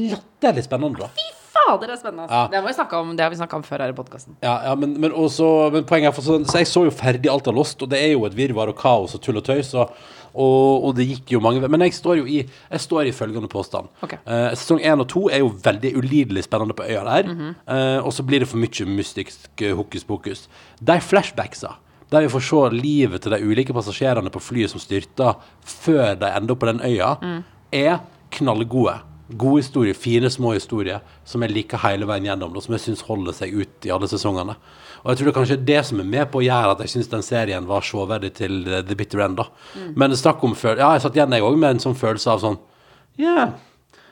Speaker 3: latterlig spennende, da.
Speaker 4: Fader, det er spennende. Altså.
Speaker 3: Ja.
Speaker 4: Det, må vi snakke om, det har vi snakka om før her i podkasten.
Speaker 3: Ja, ja men, men, også, men poenget er for sånn Så jeg så jo ferdig alt av Lost, og det er jo et virvar og kaos og tull og tøys. Og, og, og det gikk jo mange Men jeg står jo i, jeg står i følgende påstand.
Speaker 4: Ok.
Speaker 3: Eh, sesong én og to er jo veldig ulidelig spennende på øya der. eh, og så blir det for mye mystisk eh, hokus pokus. De flashbacksa, der vi får se livet til de ulike passasjerene på flyet som styrter, før de ender opp på den øya, er knallgode. Gode historier, fine små historier som jeg liker hele veien gjennom, og som jeg syns holder seg ut i alle sesongene. Og jeg tror det er kanskje det som er med på å gjøre at jeg syns den serien var severdig til eh, The Bitter End, da. Men det snakk om følelse Ja, jeg satt igjen, jeg òg, med en sånn følelse av sånn ja.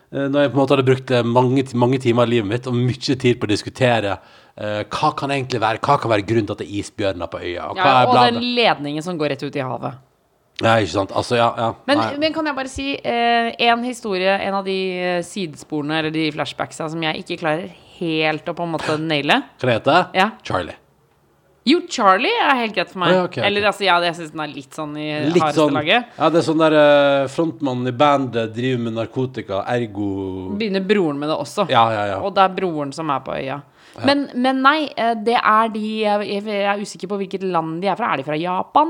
Speaker 3: Eh, Når jeg på en måte hadde brukt eh, mange, mange timer av livet mitt og mye tid på å diskutere eh, hva kan egentlig være Hva kan være grunnen til at det er isbjørner på øya, og hva
Speaker 4: Ja,
Speaker 3: er
Speaker 4: og
Speaker 3: bla,
Speaker 4: den
Speaker 3: bla.
Speaker 4: ledningen som går rett ut i havet.
Speaker 3: Ja, ikke sant. Altså, ja. ja.
Speaker 4: Men,
Speaker 3: Nei.
Speaker 4: men kan jeg bare si eh, en historie, en av de eh, sidesporene eller de flashbacksa som jeg ikke klarer helt å på en måte naile?
Speaker 3: Hva det heter det?
Speaker 4: Ja.
Speaker 3: Charlie.
Speaker 4: Jo, Charlie er helt greit for meg.
Speaker 3: Å, ja, ok, ok.
Speaker 4: Eller altså, ja, jeg syns den er litt sånn i
Speaker 3: Litt
Speaker 4: hardeste
Speaker 3: sånn
Speaker 4: laget.
Speaker 3: Ja, det er sånn der eh, frontmannen i bandet driver med narkotika, ergo
Speaker 4: Begynner broren med det også.
Speaker 3: Ja, ja, ja.
Speaker 4: Og det er broren som er på øya. Men, men nei, eh, det er de jeg, jeg- jeg er usikker på hvilket land de er fra. Er de fra Japan?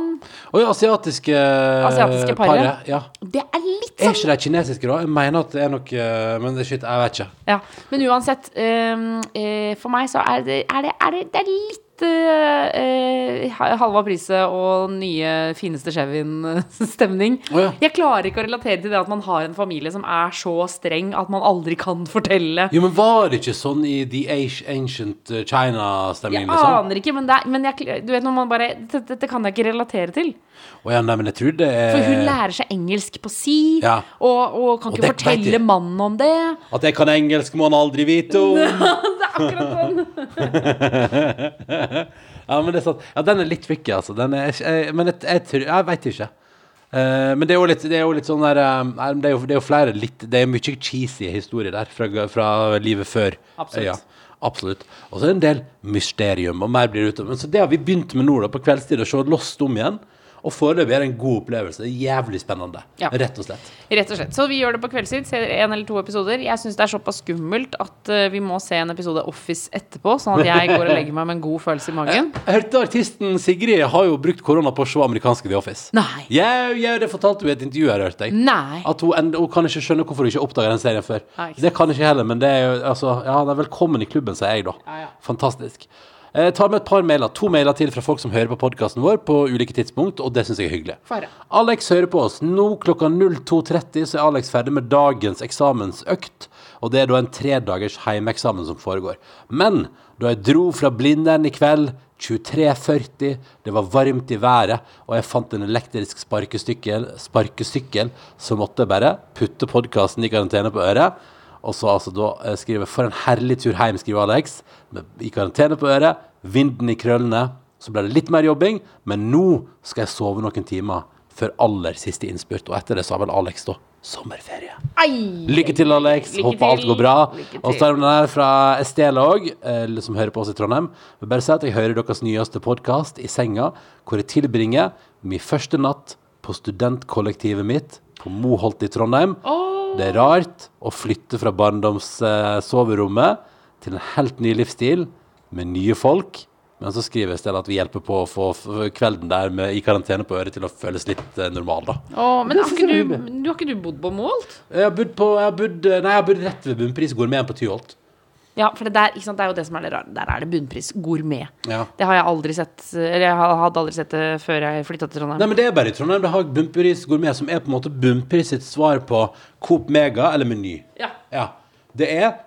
Speaker 3: Oi, asiatiske eh,
Speaker 4: Asiatiske paret.
Speaker 3: Ja.
Speaker 4: Det er litt
Speaker 3: Er
Speaker 4: sånn
Speaker 3: ikke de kinesiske, da? Jeg mener at det er nok eh, Men shit, jeg vet ikke.
Speaker 4: Ja, men uansett ehm, eh, For meg så er det, er det, er det, det er litt eh, eh, Halva priset og nye fineste Chevyen-stemning.
Speaker 3: Å ja.
Speaker 4: Jeg klarer ikke å relatere til det at man har en familie som er så streng at man aldri kan fortelle.
Speaker 3: Jo, men var det ikke sånn i The Age Ancient China-stemningen?
Speaker 4: Jeg
Speaker 3: liksom?
Speaker 4: aner ikke, men, det er, men jeg, kl- du vet når man bare dette, dette kan jeg ikke relatere til.
Speaker 3: Å ja, nei, men jeg tror det er
Speaker 4: For hun lærer seg engelsk på si,
Speaker 3: Eh. Ja.
Speaker 4: og, og kan
Speaker 3: Og
Speaker 4: ikke
Speaker 3: det vet
Speaker 4: fortelle
Speaker 3: de.
Speaker 4: mannen om det. (laughs)
Speaker 3: At jeg kan engelsk, må han aldri vite om.
Speaker 4: Det er akkurat sånn.
Speaker 3: ja, men det er sant. Ja, den er litt tricky, altså. Den er, ikke- eh, men jeg, jeg, tror- jeg veit ikke. Eh, men det er jo litt, det er jo litt sånn der eh, nei, det, er jo, det er jo flere litt Det er mye cheesy historier der fra, fra livet før.
Speaker 4: Absolutt.
Speaker 3: Ja, absolutt. Og så er det en del mysterium, og mer blir det utover. Men Så det har vi begynt med nå, da, på kveldstid, å se Lost om igjen. Og foreløpig er det en god opplevelse. Det er Jævlig spennende,
Speaker 4: Ja.
Speaker 3: rett og slett.
Speaker 4: Rett og slett. Så vi gjør det på kveldstid. Ser en eller to episoder. Jeg syns det er såpass skummelt at eh, vi må se en episode Office etterpå, sånn at jeg går og legger meg med en god følelse i magen.
Speaker 3: Jeg hørte artisten Sigrid har jo brukt korona på å se amerikanske The Office.
Speaker 4: Nei.
Speaker 3: Jau, jau, det fortalte hun i et intervju jeg hørte. Jeg.
Speaker 4: Nei.
Speaker 3: At hun, end- hun kan ikke skjønne hvorfor hun ikke oppdaga den serien før.
Speaker 4: Nei, ikke sant.
Speaker 3: det kan ikke jeg heller, men det er jo altså, ja, det er velkommen i klubben, sier jeg da.
Speaker 4: Ja, ja.
Speaker 3: Fantastisk. Jeg tar med et par mailer. To mailer til fra folk som hører på podkasten vår på ulike tidspunkt, og det syns jeg er hyggelig.
Speaker 4: Få høre.
Speaker 3: Alex hører på oss. Nå klokka 02.30 så er Alex ferdig med dagens eksamensøkt, og det er da en tredagers heimeeksamen som foregår. Men da jeg dro fra Blindern i kveld, 23.40, det var varmt i været, og jeg fant en elektrisk sparkesykkel, sparkesykkel så måtte jeg bare putte podkasten i karantene på øret. Og så altså da eh, skriver For en herlig tur hjem, skriver Alex. Med, I karantene på øret, vinden i krøllene. Så ble det litt mer jobbing, men nå skal jeg sove noen timer før aller siste innspurt. Og etter det så har vel Alex da sommerferie.
Speaker 4: (laughs) Ai!
Speaker 3: Lykke til, Alex.
Speaker 4: Lykke
Speaker 3: Håper alt
Speaker 4: til.
Speaker 3: går bra.
Speaker 4: Lykke til.
Speaker 3: Og så er det den her fra Estela òg, som hører på oss i Trondheim. Jeg vil bare si at jeg hører deres nyeste podkast i senga, hvor jeg tilbringer min første natt på studentkollektivet mitt på Moholt i Trondheim. Det er rart å flytte fra barndomssoverommet til en helt ny livsstil med nye folk. Men så skriver Estela at vi hjelper på å få f- kvelden der med, i karantene på øret til å føles litt eh, normal, da.
Speaker 4: Å, men
Speaker 3: Det
Speaker 4: har
Speaker 3: synes
Speaker 4: ikke
Speaker 3: jeg
Speaker 4: du,
Speaker 3: var
Speaker 4: du har ikke du bodd på Moholt?
Speaker 3: Jeg har bodd på jeg har bodd, eh, Nei, jeg har bodd rett ved Bunnpris gourmeten på Tyholt.
Speaker 4: Ja, for det, der, ikke sant, det er jo det som er det rare. Der er det bunnpris. Gourmet.
Speaker 3: Ja.
Speaker 4: Det har jeg aldri sett Eller jeg hadde aldri sett det før jeg flytta til Trondheim.
Speaker 3: Nei, men Det er bare i Trondheim. Det har Bunnpris gourmet, som er på en måte Bunnpris sitt svar på Coop Mega eller Meny.
Speaker 4: Ja.
Speaker 3: Det er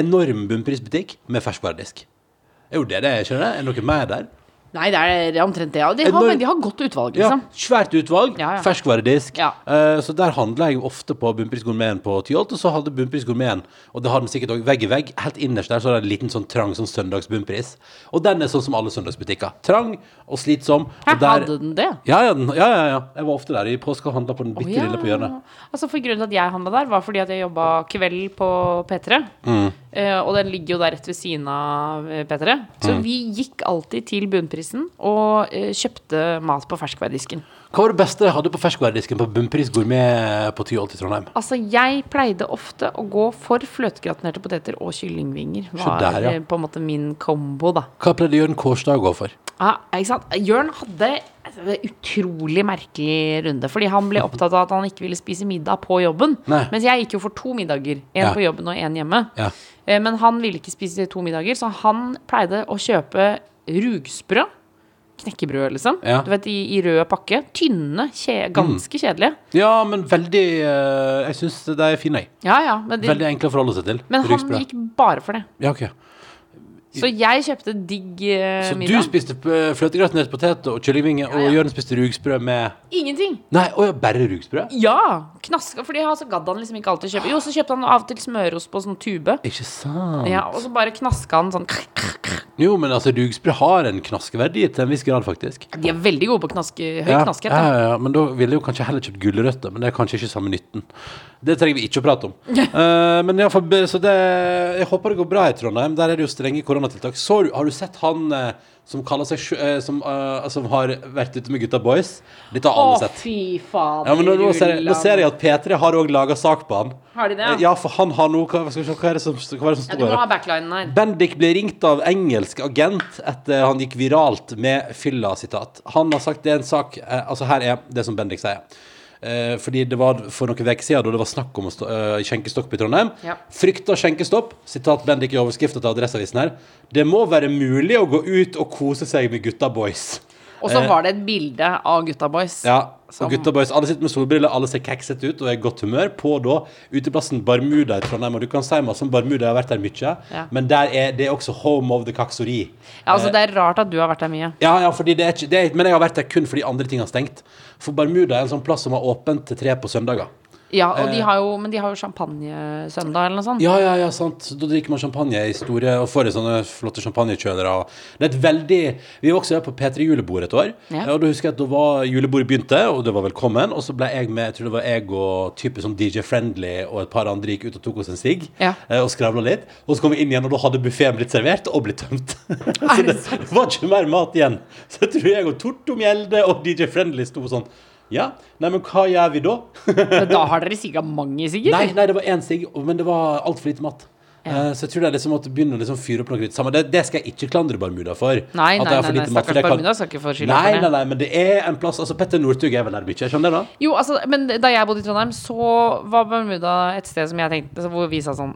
Speaker 3: enorm bunnprisbutikk med ferskvaredisk. Det er Jo, det det er, skjønner jeg. Er det noe mer der?
Speaker 4: Nei, det er omtrent det. ja. De har,
Speaker 3: Eh, Når-
Speaker 4: men de har godt utvalg, liksom.
Speaker 3: Ja, svært utvalg.
Speaker 4: Ja, ja.
Speaker 3: Ferskvaredisk.
Speaker 4: Ja.
Speaker 3: Eh, så der handla jeg jo ofte på Bunnpris Gourmeten på Tyholt, og så hadde Bunnpris Gourmeten, og det har den sikkert òg vegg i vegg, helt innerst der så er det en liten sånn trang sånn søndagsbunnpris. Og den er sånn som alle søndagsbutikker. Trang og slitsom.
Speaker 4: Her
Speaker 3: Og der,
Speaker 4: hadde den det.
Speaker 3: ja, ja, den- ja, ja, ja. Jeg var ofte der i påska og handla på den bitte
Speaker 4: Ja.
Speaker 3: lille på hjørnet.
Speaker 4: Altså for Grunnen til at jeg handla der, var fordi at jeg jobba kveld på P3.
Speaker 3: Mm.
Speaker 4: Eh, og den ligger jo der rett ved siden av eh, P3. Så
Speaker 3: Mm.
Speaker 4: vi gikk alltid til bunnprisen og eh, kjøpte mat på ferskværdisken.
Speaker 3: Hva var det beste jeg hadde på ferskværdisken på Bunnpris Gourmet på Tyholt i Trondheim?
Speaker 4: Altså, jeg pleide ofte å gå for fløtegratinerte poteter og kyllingvinger. Var
Speaker 3: der, ja.
Speaker 4: eh, på en måte min kombo, da.
Speaker 3: Hva pleide Jørn Kårstad å gå for?
Speaker 4: Ja, Ah, ikke sant? Jørn hadde en utrolig merkelig runde. Fordi han ble opptatt av at han ikke ville spise middag på jobben.
Speaker 3: Nei.
Speaker 4: Mens jeg gikk jo for to middager. En
Speaker 3: Ja.
Speaker 4: på jobben og en hjemme.
Speaker 3: Ja.
Speaker 4: Eh, Men han ville ikke spise to middager, så han pleide å kjøpe rugsprø. Knekkebrød, liksom.
Speaker 3: Ja. Mm.
Speaker 4: Du vet, i, I rød pakke. Tynne. Kje, ganske kjedelige.
Speaker 3: Ja, men veldig eh, Jeg syns de er fine, jeg.
Speaker 4: Ja, ja. Men, de,
Speaker 3: Veldig enkle å forholde seg til.
Speaker 4: men han
Speaker 3: Rygsprø.
Speaker 4: gikk bare for det.
Speaker 3: Ja, ok.
Speaker 4: Så jeg kjøpte digg eh,
Speaker 3: Så du
Speaker 4: middag.
Speaker 3: spiste eh, fløtegratinert potet og kyllingvinger,
Speaker 4: Ja, ja.
Speaker 3: og Jørn spiste rugsprø med
Speaker 4: Ingenting.
Speaker 3: Nei, å ja, bare rugsprø?
Speaker 4: Ja! Knaska, fordi han- så gadd han liksom ikke alltid kjøpe. Jo, så kjøpte han av og til smørost på sånn tube.
Speaker 3: Ikke sant?
Speaker 4: Ja, og så bare knaska han sånn
Speaker 3: Jo, men altså, rugsprø har en knaskeverdi til en viss grad, faktisk.
Speaker 4: De er veldig gode på knaske, høy
Speaker 3: Ja,
Speaker 4: knaskerett.
Speaker 3: ja,
Speaker 4: da.
Speaker 3: ja, ja, men da ville jeg jo kanskje heller kjøpt gulrøtter, men det er kanskje ikke samme nytten. Det trenger vi ikke å
Speaker 4: (laughs)
Speaker 3: prate om. Eh, men i alle fall, be- så det, jeg håper det går bra i Trondheim. Der er det jo strenge koronatiltak. Så du, har du sett han eh, som kaller seg sj- eh, som, eh, som har vært ute med Gutta Boys? Dette har alle
Speaker 4: Å,
Speaker 3: sett.
Speaker 4: fy fader.
Speaker 3: Ja, men nå, nå, ser jeg, nå
Speaker 4: Ulland.
Speaker 3: ser jeg at P3 har òg laga sak på han.
Speaker 4: Har de det, ja?
Speaker 3: Eh, Ja, for han har noe Hva, skal vi se, hva er det som, hva er det som
Speaker 4: ja, Du må
Speaker 3: står
Speaker 4: ha
Speaker 3: her?
Speaker 4: backlinen her.
Speaker 3: Bendik ble ringt av engelsk agent etter han gikk viralt med fylla-sitat. Han har sagt det er en sak eh, Altså, her er det som Bendik sier. Eh, fordi det var for noen uker siden da det var snakk om å stå, eh, skjenkestopp i Trondheim.
Speaker 4: Ja.
Speaker 3: Frykter skjenkestopp. Sitat Bendik i overskrifta til Adresseavisen her. Det må være mulig å gå ut og kose seg med gutta boys.
Speaker 4: Og så var det et bilde av Gutta Boys.
Speaker 3: Eh. Ja,
Speaker 4: Som-
Speaker 3: og gutta boys, alle sitter med solbriller, alle ser keksete ut og er i godt humør på da uteplassen Barmuda i Trondheim. Og du kan si meg som Barmuda, jeg har vært der mye,
Speaker 4: Ja.
Speaker 3: men der er det er også home of the kaksori.
Speaker 4: Ja, altså, det er rart at du har vært der mye.
Speaker 3: Ja, ja, fordi det er ikke, det er, men jeg har vært der kun fordi andre ting har stengt. For Barmuda er en sånn plass som har åpent til tre på søndager.
Speaker 4: Ja, og de har jo, Men de har jo champagnesøndag eller noe sånt.
Speaker 3: Eh. Ja, ja, ja, sant. Så Da drikker man champagne i store og får i sånne flotte champagnekjølere. og Det er et veldig Vi var også her på P3 julebord et år.
Speaker 4: Ja.
Speaker 3: Og da husker jeg at da var julebordet begynte, og det var velkommen. Og så ble jeg med, jeg tror det var jeg og type som DJ Friendly og et par andre gikk ut og tok oss en sigg
Speaker 4: Ja.
Speaker 3: eh, og skravla litt. Og så kom vi inn igjen, og da hadde buffeen blitt servert og blitt tømt. (laughs) så det var ikke mer mat igjen. Så jeg tror jeg og Torto Mjelde og DJ Friendly sto sånn Ja, nei, men hva gjør vi da?
Speaker 4: Men da har dere sigga mange, sikkert?
Speaker 3: Nei, nei, det var én sigg, og- men det var altfor lite mat. Eh, Så jeg tror det er liksom at begynne å liksom fyre opp noe litt sammen. Det, det skal jeg ikke klandre Barmuda for. Nei,
Speaker 4: nei, nei, nei, nei, stakkars
Speaker 3: det kan-
Speaker 4: Barmuda skal ikke få skylda for
Speaker 3: Nei,
Speaker 4: det.
Speaker 3: nei, nei, men det er en plass Altså, Petter Northug er vel der mye, skjønner du det?
Speaker 4: Jo, altså, men da jeg bodde i Trondheim, så var Bermuda et sted som jeg tenkte altså, Hvor vi sa sånn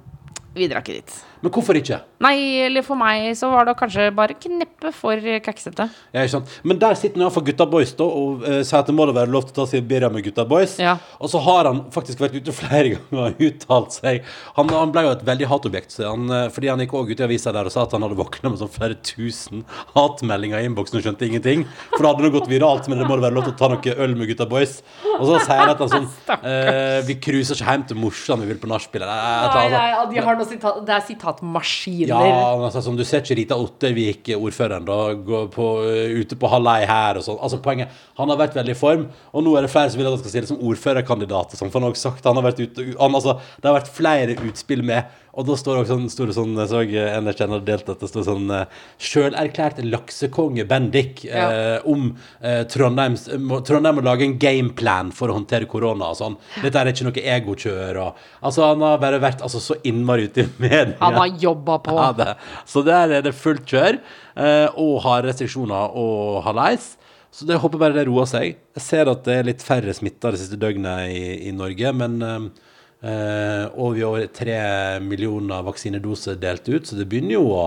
Speaker 4: Vi drar ikke dit.
Speaker 3: Men hvorfor ikke?
Speaker 4: Nei, eller for meg så var det kanskje bare kneppe for kaksete.
Speaker 3: Ja, ikke sant? Men der sitter nå iallfall Gutta Boys da, og eh, sier at det må da være lov til å ta seg en birra med Gutta Boys.
Speaker 4: Ja.
Speaker 3: Og så har han faktisk vært ute flere (laughs) ganger og uttalt seg. Han, han ble jo et veldig hatobjekt, så han, eh, fordi han gikk også ut i avisa der og sa at han hadde våkna med sånn flere tusen hatmeldinger i innboksen og skjønte ingenting. For det hadde nå gått viralt, men det må da være lov til å ta noe øl med Gutta Boys. Og så sier han at han sånn eh, Vi cruiser ikke hjem til morsan, vi vil på nachspiel. eller et eller annet sånt.
Speaker 4: de har noe sitat, det er sitatmaskiner.
Speaker 3: Ja, men altså, som du ser ikke Rita Ottervik, eh, ordføreren, da, gå på, eh, ute på halvei her og sånn. Altså, poenget, han har vært veldig i form, og nå er det flere som vil at han skal stille som ordførerkandidat. og Sånn, for han har også sagt, han har vært ute, han, altså, det har vært flere utspill med, og da står det også sånn, store sånn, jeg så en jeg kjenner delt at det står sånn, eh, selverklært laksekonge Bendik, eh, om eh, Trondheims, må, Trondheim må lage en gameplan for å håndtere korona og sånn. Dette er ikke noe egokjør, og, altså, han har bare vært, altså, så innmari ute i media.
Speaker 4: Han har jobba på.
Speaker 3: Ja, det. Så der er det fullt kjør, eh, og har restriksjoner og haleis. Så det jeg håper bare det roer seg. Jeg ser at det er litt færre smitta det siste døgnet i, i Norge, men eh, eh, og vi har over tre millioner vaksinedoser delt ut, så det begynner jo å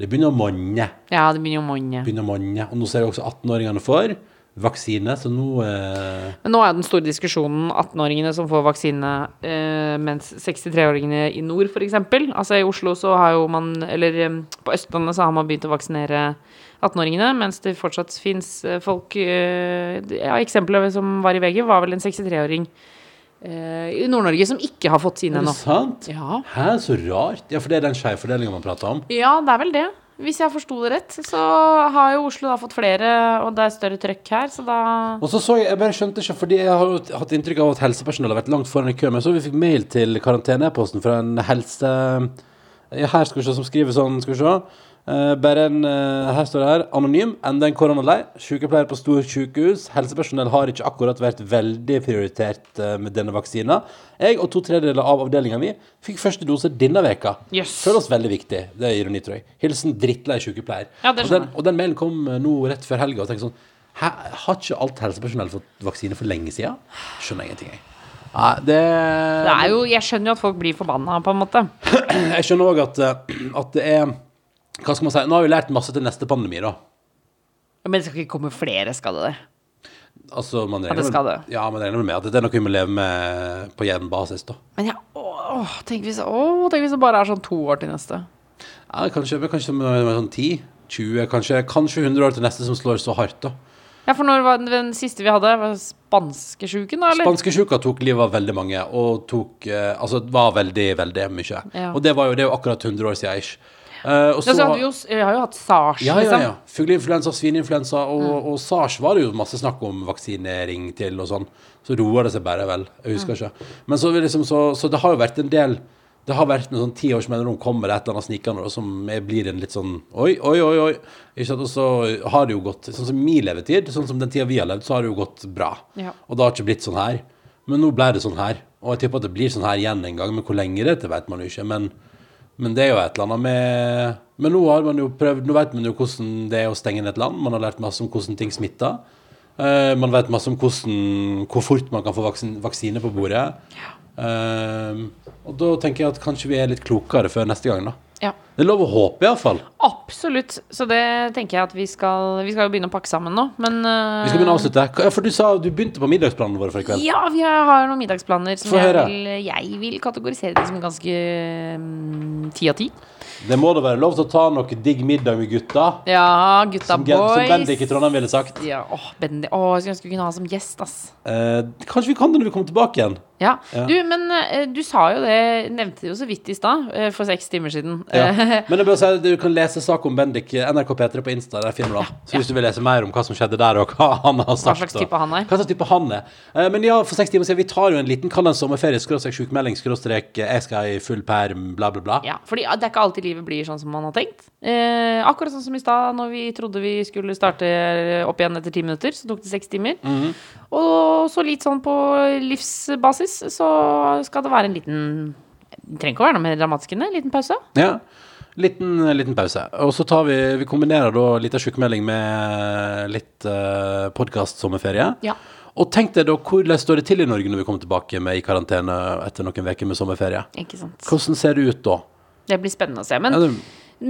Speaker 3: det begynner å monne.
Speaker 4: Ja, det begynner jo å monne.
Speaker 3: Begynner å monne. Og nå ser vi også 18-åringene får. vaksine, så nå eh,
Speaker 4: Men nå er jo den store diskusjonen 18-åringene som får vaksine, eh, mens 63-åringene i nord, f.eks. Altså i Oslo så har jo man Eller eh, på Østlandet så har man begynt å vaksinere 18-åringene, mens det fortsatt fins folk eh, Ja, eksempelet som var i VG, var vel en 63-åring eh, i Nord-Norge som ikke har fått sine
Speaker 3: Er
Speaker 4: ennå.
Speaker 3: det sant?
Speaker 4: Ja.
Speaker 3: Hæ, så rart. Ja, for det er den skjevfordelinga man prater om.
Speaker 4: ja, det er vel det. Hvis jeg forsto det rett, så har jo Oslo da fått flere, og det er større trøkk her, så da
Speaker 3: Og så så jeg, jeg bare skjønte ikke, fordi jeg har jo t- hatt inntrykk av at helsepersonell har vært langt foran i køen, men så vi fikk mail til karanteneposten fra en helse... Ja, her skal vi se, som skriver sånn, skal vi se. Eh, bare en, eh, her står det her, anonym, enda en koronalei, sykepleier på stor sykehus, helsepersonell har ikke akkurat vært veldig prioritert eh, med denne vaksina. Jeg og to tredjedeler av avdelingen min fikk første dose denne veka.
Speaker 4: Yes.
Speaker 3: Føler oss veldig viktig, det er ironi, tror jeg. Hilsen drittlei sykepleier.
Speaker 4: Ja, det
Speaker 3: Og den,
Speaker 4: skjønner jeg.
Speaker 3: og den mailen kom eh, nå rett før helga og tenkte sånn Hæ, har ikke alt helsepersonell fått vaksine for lenge siden? Skjønner jeg ingenting, jeg. Nei, det,
Speaker 4: det er jo, Jeg skjønner jo at folk blir forbanna, på en måte.
Speaker 3: Jeg skjønner òg at, eh, at det er Hva skal man si? Nå har vi lært masse til neste pandemi, da.
Speaker 4: Men det skal ikke komme flere, skal det det?
Speaker 3: Altså, man
Speaker 4: det
Speaker 3: regner,
Speaker 4: skal
Speaker 3: vel- Ja, man regner vel med at det er noe vi må leve med på jevn basis, da.
Speaker 4: Men jeg, åh, tenk hvis, åh, tenk hvis det bare er sånn to år til neste.
Speaker 3: Ja, kanskje, men kanskje med, med sånn 10, 20, kanskje, kanskje 100 år til neste som slår så hardt, da.
Speaker 4: Ja, for når var den, den siste vi hadde? Var spanskesjuken, da? eller?
Speaker 3: Spanskesjuka tok livet av veldig mange, og tok eh, Altså var veldig, veldig mye.
Speaker 4: Ja.
Speaker 3: Og det var jo det er jo akkurat 100 år siden, ish. Eh, og
Speaker 4: ja, så hadde vi, jo, s- vi har jo hatt sars,
Speaker 3: ja, ja,
Speaker 4: liksom.
Speaker 3: ja. Fugleinfluensa, svineinfluensa og, og sars var det jo masse snakk om vaksinering til og sånn. Så roer det seg bare vel. Jeg husker ikke. Men så, vi liksom, så, så det har jo vært en del Det har vært noen sånn ti års mellomrom kommer det et eller annet snikende da, som er- blir en litt sånn Oi, oi, oi. oi. Ikke sant? Og så har det jo gått Sånn som min levetid, sånn som den tida vi har levd, så har det jo gått bra.
Speaker 4: Ja.
Speaker 3: Og det har ikke blitt sånn her. Men nå ble det sånn her. Og jeg tipper at det blir sånn her igjen en gang. Men hvor lenge det er til, vet man jo ikke. Men, men det er jo et eller annet med Men nå har man jo prøvd Nå vet man jo hvordan det er å stenge ned et land. Man har lært masse om hvordan ting smitter. Eh, man vet masse om hvordan, hvor fort man kan få vaksin, vaksine på bordet. Eh, og da tenker jeg at kanskje vi er litt klokere før neste gang, da.
Speaker 4: Ja.
Speaker 3: Det er lov å håpe, iallfall.
Speaker 4: Absolutt. Så det tenker jeg at vi skal Vi skal jo begynne å pakke sammen nå, men
Speaker 3: Vi skal begynne å avslutte. Hva- Ja, for du sa du begynte på middagsplanene våre for i kveld.
Speaker 4: Ja, vi har har noen middagsplaner som
Speaker 3: Få
Speaker 4: jeg
Speaker 3: høre.
Speaker 4: vil, jeg vil kategorisere det som ganske mm, ti av ti.
Speaker 3: Det må da være lov til å ta noe digg middag med gutta.
Speaker 4: Ja, gutta
Speaker 3: Som, Gen- som Bendik i
Speaker 4: boys.
Speaker 3: Trondheim ville sagt.
Speaker 4: Ja, åh, Bendik. Åh, jeg skulle ønske vi kunne ha han som gjest, ass.
Speaker 3: Eh, kanskje vi kan det når vi kommer tilbake igjen.
Speaker 4: Ja.
Speaker 3: Ja.
Speaker 4: Du, men eh, du sa jo det, nevnte det jo så vidt i stad, eh, for seks timer siden.
Speaker 3: Ja.
Speaker 4: (laughs) Eh,
Speaker 3: Men jeg bare sier, du kan lese sak om Bendik eh, NRK P3 på Insta. Der finner du han. Så hvis du vil lese mer om hva som skjedde der, og hva han har sagt
Speaker 4: slags
Speaker 3: og-
Speaker 4: type han er.
Speaker 3: Hva slags type han er. Eh, men ja, for seks timer siden, vi tar jo en liten kall det en sommerferie, skråstrek sjukmelding, skråstrek eh, jeg skal i full perm, bla, bla, bla.
Speaker 4: ja, fordi det er ikke alltid livet blir sånn som man har tenkt. Eh, akkurat sånn som i stad, når vi trodde vi skulle starte opp igjen etter ti minutter, så tok det seks timer.
Speaker 3: Mhm.
Speaker 4: Og så litt sånn på livsbasis, så skal det være en liten det trenger ikke å være noe mer dramatisk enn det. en Liten pause.
Speaker 3: Ja. Liten, liten pause. Og så tar vi, vi kombinerer da litt av sjukmelding med litt uh, podkast-sommerferie.
Speaker 4: Ja.
Speaker 3: Og tenk deg da, hvordan står det til i Norge når vi kommer tilbake med i karantene etter noen uker med sommerferie?
Speaker 4: Ikke sant.
Speaker 3: Hvordan ser det ut da?
Speaker 4: Det blir spennende å se. Men,
Speaker 3: Ja, det,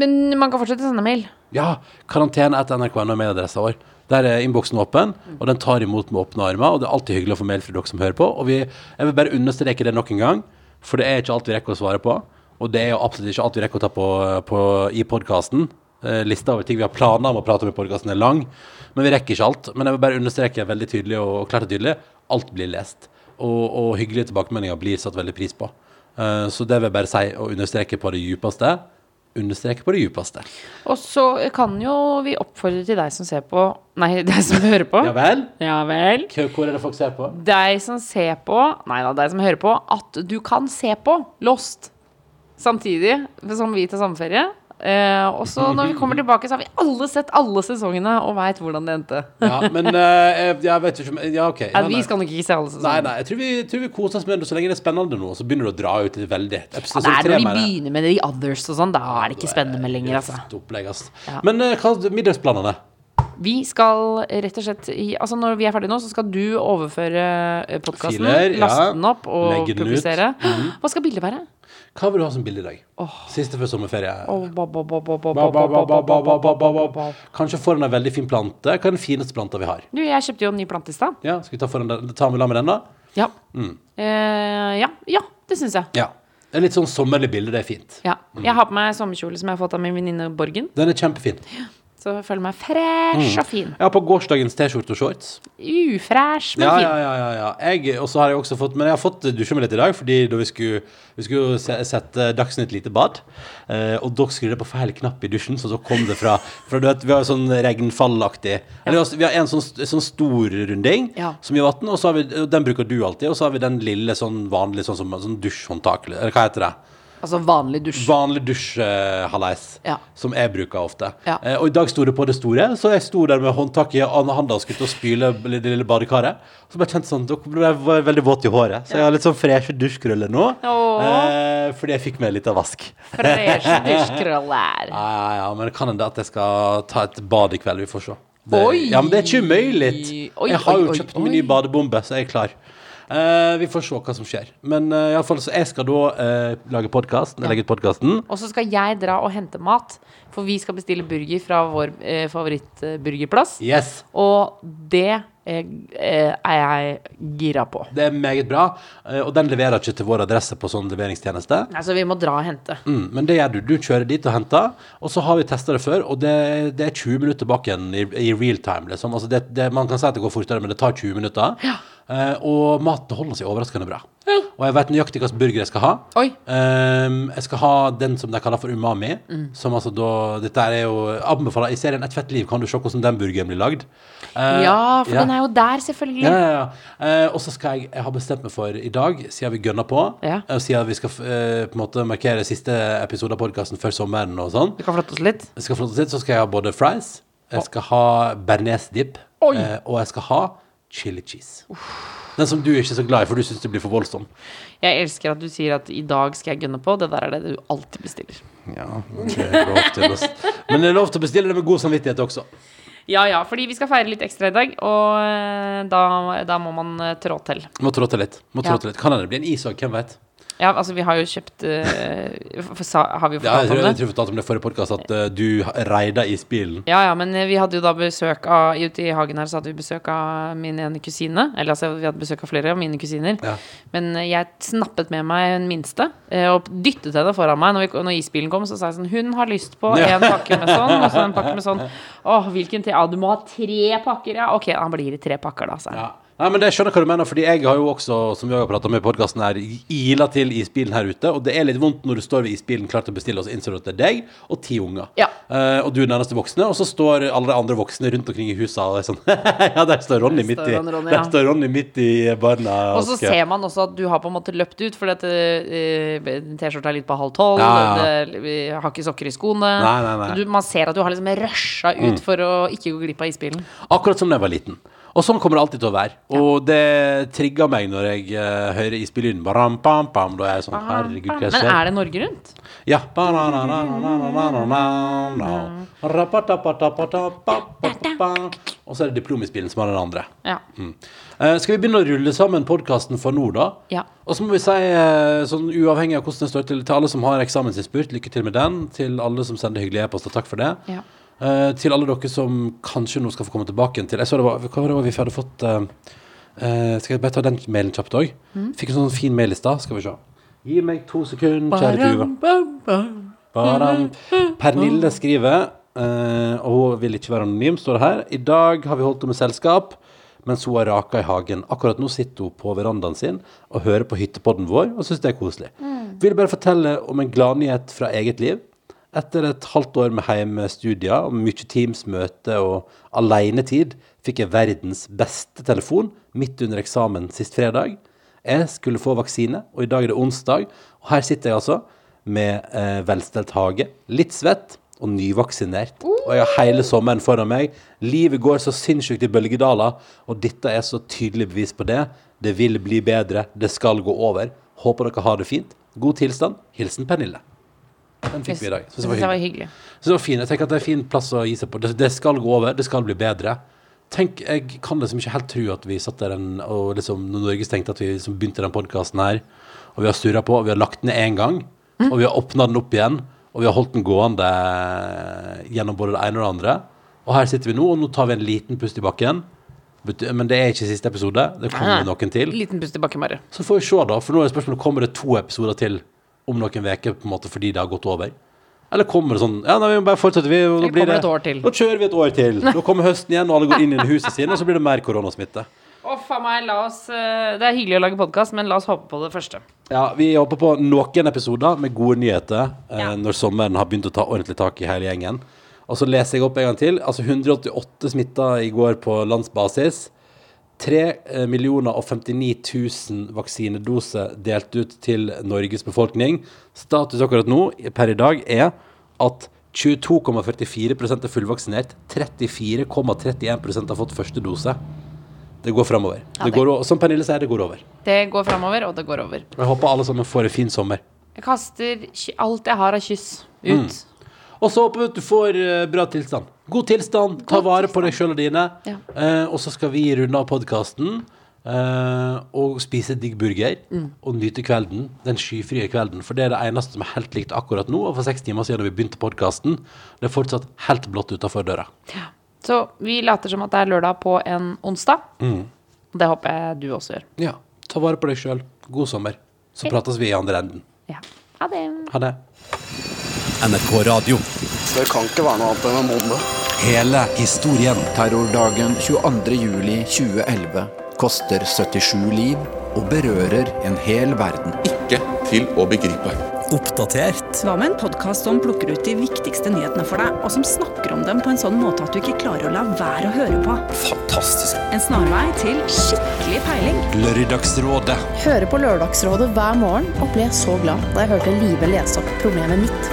Speaker 4: men man kan fortsette å sende mail.
Speaker 3: ja karantene etter nrk.no med adressa vår. Der er innboksen åpen, og den tar imot med åpne armer. Og det er alltid hyggelig å få mail fra dere som hører på. Og vi, jeg vil bare understreke det nok en gang, for det er ikke alt vi rekker å svare på. Og det er jo absolutt ikke alt vi rekker å ta på, på i podkasten. Lista over ting vi har planer om å prate om i podkasten er lang, men vi rekker ikke alt. Men jeg vil bare understreke veldig tydelig og klart og tydelig alt blir lest. Og, og hyggelige tilbakemeldinger blir satt veldig pris på. Eh, Så det vil jeg bare si og understreke på det djupeste. Understreke på det djupeste.
Speaker 4: Og så kan jo vi oppfordre til deg som ser på Nei, (laughs) deg som hører på.
Speaker 3: Ja vel?
Speaker 4: Ja vel.
Speaker 3: Hvor hvor er det folk ser på?
Speaker 4: Deg som ser på, nei da, deg som hører på, at du kan se på Lost samtidig som vi tar sommerferie. Eh, og så når vi kommer tilbake, så har vi alle sett alle sesongene og veit hvordan det endte.
Speaker 3: Ja, men eh, jeg, jeg vet jo ikke om Ja, OK. Ja,
Speaker 4: Nei, vi
Speaker 3: nei.
Speaker 4: skal nok ikke se alle
Speaker 3: Nei,
Speaker 4: sesongene.
Speaker 3: nei, jeg tror vi, jeg tror vi koser oss med det så lenge det er spennende nå, og så begynner det å dra ut litt veldig.
Speaker 4: Ja,
Speaker 3: Episode
Speaker 4: det er
Speaker 3: tre,
Speaker 4: når de
Speaker 3: mener jeg.
Speaker 4: begynner med The Others og sånn, da er det ikke spennende med lenger, altså.
Speaker 3: Røft Opplegg, ass.
Speaker 4: Ja.
Speaker 3: Men eh, hva middagsplanene?
Speaker 4: Vi skal rett og slett i- Altså Når vi er ferdige nå, så skal du overføre podkasten.
Speaker 3: Filer, ja.
Speaker 4: Laste den opp og
Speaker 3: Legge den ut. Mm.
Speaker 4: publisere. Hva skal bildet være?
Speaker 3: Hva vil du ha som bilde i dag? Siste før sommerferie.
Speaker 4: Åh, ba, ba, ba, ba, ba,
Speaker 3: Ba, ba, ba, ba, ba, ba, ba, ba, ba.
Speaker 4: ba.
Speaker 3: Kanskje foran en veldig fin plante. Hva er den fineste planta vi har?
Speaker 4: Du, jeg kjøpte jo en ny plante i stad.
Speaker 3: Ja, Skal vi ta foran den? Ta med la med den, da?
Speaker 4: Ja.
Speaker 3: Mm.
Speaker 4: Eh, ja. Ja, det syns jeg.
Speaker 3: Ja. Det er litt sånn sommerlig bilde. Det er fint.
Speaker 4: Ja. Jeg har på meg sommerkjole som jeg har fått av min venninne Borgen.
Speaker 3: Den er kjempefin.
Speaker 4: Så jeg føler meg
Speaker 3: Mm.
Speaker 4: fresh og fin.
Speaker 3: Jeg har på gårsdagens T-skjorte og shorts.
Speaker 4: Ufresh, men
Speaker 3: Ja,
Speaker 4: fin.
Speaker 3: ja, ja, ja, ja. Jeg, og så har jeg også fått Men jeg har fått dusja meg litt i dag, fordi da vi skulle, vi skulle se, sette Dagsnytt lite bad, eh, og dere skrudde på feil knapp i dusjen, så da kom det fra For du vet, vi har jo sånn regnfallaktig Eller altså, vi har en sånn, st- sånn stor runding
Speaker 4: Ja.
Speaker 3: som gir vann, og så har vi, og den bruker du alltid, og så har vi den lille sånn vanlig sånn, som- sånn dusjhåndtakle, eller hva heter det?
Speaker 4: Altså vanlig dusj.
Speaker 3: Vanlig dusjhallais,
Speaker 4: Ja.
Speaker 3: som jeg bruker ofte.
Speaker 4: Ja.
Speaker 3: Eh, og i dag sto det på det store, så jeg sto der med håndtaket i andre handa og skulle til å spyle det lille badekaret. Så ble jeg kjent sånn, da ble jeg var jeg veldig våt i håret. Så jeg har litt sånn freshe dusjkrøller nå,
Speaker 4: Åh.
Speaker 3: eh, fordi jeg fikk meg litt av vask. (laughs)
Speaker 4: Fresh dusjkrøller.
Speaker 3: Ja, ja, ja, men kan hende at jeg skal ta et bad i kveld, vi får se. Det,
Speaker 4: Oi!
Speaker 3: Ja, men det er ikke umulig.
Speaker 4: Oi,
Speaker 3: Jeg har
Speaker 4: oi,
Speaker 3: jo
Speaker 4: oi,
Speaker 3: kjøpt min nye
Speaker 4: oi.
Speaker 3: badebombe, så jeg er klar. Eh, vi får se hva som skjer. Men eh, i alle fall, så jeg skal da eh, lage podkast. Legge ut podkasten.
Speaker 4: Og så skal jeg dra og hente mat, for vi skal bestille burger fra vår eh, favorittburgerplass.
Speaker 3: Yes.
Speaker 4: Og det eh, eh, er jeg gira på.
Speaker 3: Det er meget bra, eh, og den leverer ikke til vår adresse på sånn leveringstjeneste.
Speaker 4: Altså, vi må dra og hente.
Speaker 3: Mm, men det gjør du. Du kjører dit og henter, og så har vi testa det før, og det, det er 20 minutter bak igjen i, i real time. Liksom. Altså det, det, man kan si at det går fortere, men det tar 20 minutter. Eh, og maten holder seg overraskende bra. Og jeg vet nøyaktig hvilken burger jeg skal ha.
Speaker 4: Oi.
Speaker 3: Ehm, jeg skal ha den som de kaller for umami.
Speaker 4: Mm.
Speaker 3: Som altså da Dette er jo anbefaler I serien Et fett liv kan du se hvordan den burgeren blir lagd. Eh,
Speaker 4: Ja, for
Speaker 3: ja.
Speaker 4: den er jo der, selvfølgelig.
Speaker 3: Ja, ja, ja. Eh, og så skal jeg Jeg har bestemt meg for i dag, siden vi gønner på,
Speaker 4: Ja.
Speaker 3: eh, siden vi skal f- eh, på en måte markere siste episode av podkasten før sommeren og sånn,
Speaker 4: Vi kan flytte oss litt.
Speaker 3: Jeg skal få lov til å si, så skal jeg ha både fries, jeg skal ha bearnésdip,
Speaker 4: Oi.
Speaker 3: eh, og jeg skal ha chili cheese. Den som du er ikke så glad i, for du syns det blir for voldsom.
Speaker 4: Jeg elsker at du sier at 'i dag skal jeg gønne på'. Det der er det du alltid bestiller.
Speaker 3: Ja, det er lov til å, (laughs) men det er lov til å bestille det med god samvittighet også.
Speaker 4: Ja ja, fordi vi skal feire litt ekstra i dag, og eh, da, da må man eh, trå til.
Speaker 3: Må trå til litt. Må trå
Speaker 4: Ja.
Speaker 3: til litt. Kan hende det blir en is òg, hvem vet.
Speaker 4: Ja, altså, vi har jo kjøpt eh, for, sa, Har vi
Speaker 3: Ja, jeg
Speaker 4: fortalt
Speaker 3: tror jeg
Speaker 4: om det?
Speaker 3: tror jeg fortalte om det i forrige podkast, at eh, du reida isbilen.
Speaker 4: Ja, ja, men eh, vi hadde jo da besøk av Ute i hagen her så hadde vi besøk av min ene kusine. Eller altså, vi hadde besøk av flere av mine kusiner.
Speaker 3: Ja.
Speaker 4: Men eh, jeg snappet med meg den minste eh, og dyttet henne foran meg. Når, vi, når isbilen kom, så sa jeg sånn Hun har lyst på
Speaker 3: Ja.
Speaker 4: en pakke med sånn, og så en pakke
Speaker 3: (laughs)
Speaker 4: med sånn. Åh, hvilken til? Ja, du må ha tre pakker, ja. Ok, han blir i tre pakker, da, sa jeg.
Speaker 3: Ja. Nei, men jeg skjønner hva du mener, fordi jeg har jo også, som vi har pratet om i podcasten her, ila til isbilen her ute, og det er litt vondt når du står ved isbilen klar til å bestille, og så innser du at det er deg og ti unger.
Speaker 4: Ja.
Speaker 3: Eh, og du er den eneste voksne, og så står alle de andre voksne rundt omkring i huset og er sånn, (laughs) ja, der står Ronny midt i,
Speaker 4: står han, Ronny,
Speaker 3: der
Speaker 4: ja.
Speaker 3: står Ronny midt i barna.
Speaker 4: Og så ser man også at du har på en måte løpt ut, fordi at eh, T-skjorta er litt på halv tolv.
Speaker 3: Ja, ja,
Speaker 4: det- Vi har ikke sokker i skoene.
Speaker 3: Nei, nei, Mm. nei.
Speaker 4: Så Du, man ser at du har liksom rusha ut for å ikke gå glipp av isbilen.
Speaker 3: Akkurat som da jeg var liten. Og sånn kommer det alltid til å være. Og det trigger meg når jeg eh, hører isbillyden. Baram, pam, pam. Da er jeg sånn, herregud, hva
Speaker 4: Ah, Men er det Norge Rundt?
Speaker 3: Ja. Og så er det diplomispillen som har den andre.
Speaker 4: Ja.
Speaker 3: Mm. Eh, Skal vi begynne å rulle sammen podkasten for nå, da?
Speaker 4: Ja.
Speaker 3: Og så må vi si, eh, sånn uavhengig av hvordan det står til, til alle som har eksamensinnspurt, lykke til med den. Til alle som sender hyggelige e-poster, takk for det.
Speaker 4: Ja.
Speaker 3: Eh, til alle dere som kanskje nå skal få komme tilbake igjen til Jeg så det var, Hva var det vi hadde fått eh, eh, Skal jeg bare ta den mailen kjapt òg?
Speaker 4: Mm.
Speaker 3: Fikk en sånn fin mail i stad. Skal vi se. Gi meg to sekunder, kjære Tuva. Badam. Pernille skriver, eh, og hun vil ikke være anonym, står det her. I dag har vi holdt henne med selskap mens hun har raka i hagen. Akkurat nå sitter hun på verandaen sin og hører på hyttepodden vår og syns det er koselig. Vil bare fortelle om en gladnyhet fra eget liv. Etter et halvt år med hjemmestudier og mye Teams-møte og alenetid fikk jeg verdens beste telefon midt under eksamen sist fredag. Jeg skulle få vaksine, og i dag er det onsdag. Og her sitter jeg altså med eh, velstelt hage, litt svett og nyvaksinert. Og jeg har hele sommeren foran meg. Livet går så sinnssykt i bølgedaler, og dette er så tydelig bevis på det. Det vil bli bedre, det skal gå over. Håper dere har det fint. God tilstand. Hilsen Pernille. Den fikk vi i dag.
Speaker 4: Jeg
Speaker 3: Så det
Speaker 4: synes
Speaker 3: var
Speaker 4: det var
Speaker 3: hyggelig.
Speaker 4: hyggelig.
Speaker 3: Så det var fin. Jeg tenker at det er en fin plass å gi seg på. Det, det skal gå over, det skal bli bedre. Tenk, Jeg kan liksom ikke helt tro at vi satt der en, og liksom, når Norge stengte, at vi liksom begynte den podkasten her, og vi har surra på, og vi har lagt den ned én gang, og vi har åpna den opp igjen, og vi har holdt den gående gjennom både det ene og det andre. Og her sitter vi nå, og nå tar vi en liten pust i bakken. Bety- Men det er ikke siste episode. Det kommer noen til.
Speaker 4: Liten pust tilbake, Mari.
Speaker 3: Så får vi se, da. For nå er spørsmålet kommer det to episoder til om noen uker på en måte fordi det har gått over. Eller kommer det sånn Ja, nei, vi bare fortsetter, vi. Og da
Speaker 4: Eller
Speaker 3: blir det
Speaker 4: kommer det et år til.
Speaker 3: Nå kjører vi et år
Speaker 4: (laughs)
Speaker 3: til. Nå kommer høsten igjen, og alle går inn i huset sine, og så blir det mer koronasmitte.
Speaker 4: Å, faen meg, la oss eh, Det er hyggelig å lage podkast, men la oss håpe på det første.
Speaker 3: Ja, vi håper på noen episoder med gode nyheter eh, når sommeren har begynt å ta ordentlig tak i hele gjengen. Og så leser jeg opp en gang til. Altså 188 smitta i går på landsbasis. 3 millioner og 59 000 vaksinedoser delt ut til Norges befolkning. Status akkurat nå per i dag er at 22,44 er fullvaksinert. 34,31 har fått første dose. Det går framover.
Speaker 4: Ja,
Speaker 3: det
Speaker 4: det-
Speaker 3: går o- som Pernille sier, det går over.
Speaker 4: Det går framover, og det går over.
Speaker 3: Jeg håper alle sammen får en fin sommer.
Speaker 4: Jeg kaster ky- alt jeg har av kyss,
Speaker 3: Mm.
Speaker 4: ut.
Speaker 3: Og så håper vi at du får eh, bra tilstand. God tilstand, ta
Speaker 4: God
Speaker 3: vare på
Speaker 4: tilstand.
Speaker 3: deg sjøl og dine.
Speaker 4: Ja.
Speaker 3: Eh, og så skal vi runde av podkasten og spise digg burger
Speaker 4: Mm.
Speaker 3: og nyte kvelden. Den skyfrie kvelden. For det er det eneste som er helt likt akkurat nå. Og for seks timer siden da vi begynte podkasten, det er fortsatt helt blått utafor døra.
Speaker 4: Så vi later som at det er lørdag på en onsdag. Det håper jeg du også gjør.
Speaker 3: Ja. Ta vare på deg sjøl. God sommer. Så prates vi i andre enden.
Speaker 4: Ja. Ha det.
Speaker 3: Ha det.
Speaker 1: NRK Radio.
Speaker 2: Det kan ikke være noe annet enn en bombe.
Speaker 1: Hele historien.
Speaker 5: Terrordagen 22. juli 2011 koster 77 liv og berører en hel verden.
Speaker 6: ikke til å begripe.
Speaker 1: Oppdatert.
Speaker 7: Hva med en podkast som plukker ut de viktigste nyhetene for deg, og som snakker om dem på en sånn måte at du ikke klarer å la være å høre på?
Speaker 1: Fantastisk.
Speaker 7: En snarvei til skikkelig peiling.
Speaker 1: Lørdagsrådet.
Speaker 8: Hører på Lørdagsrådet hver morgen og ble så glad da jeg hørte Live lese opp problemet mitt.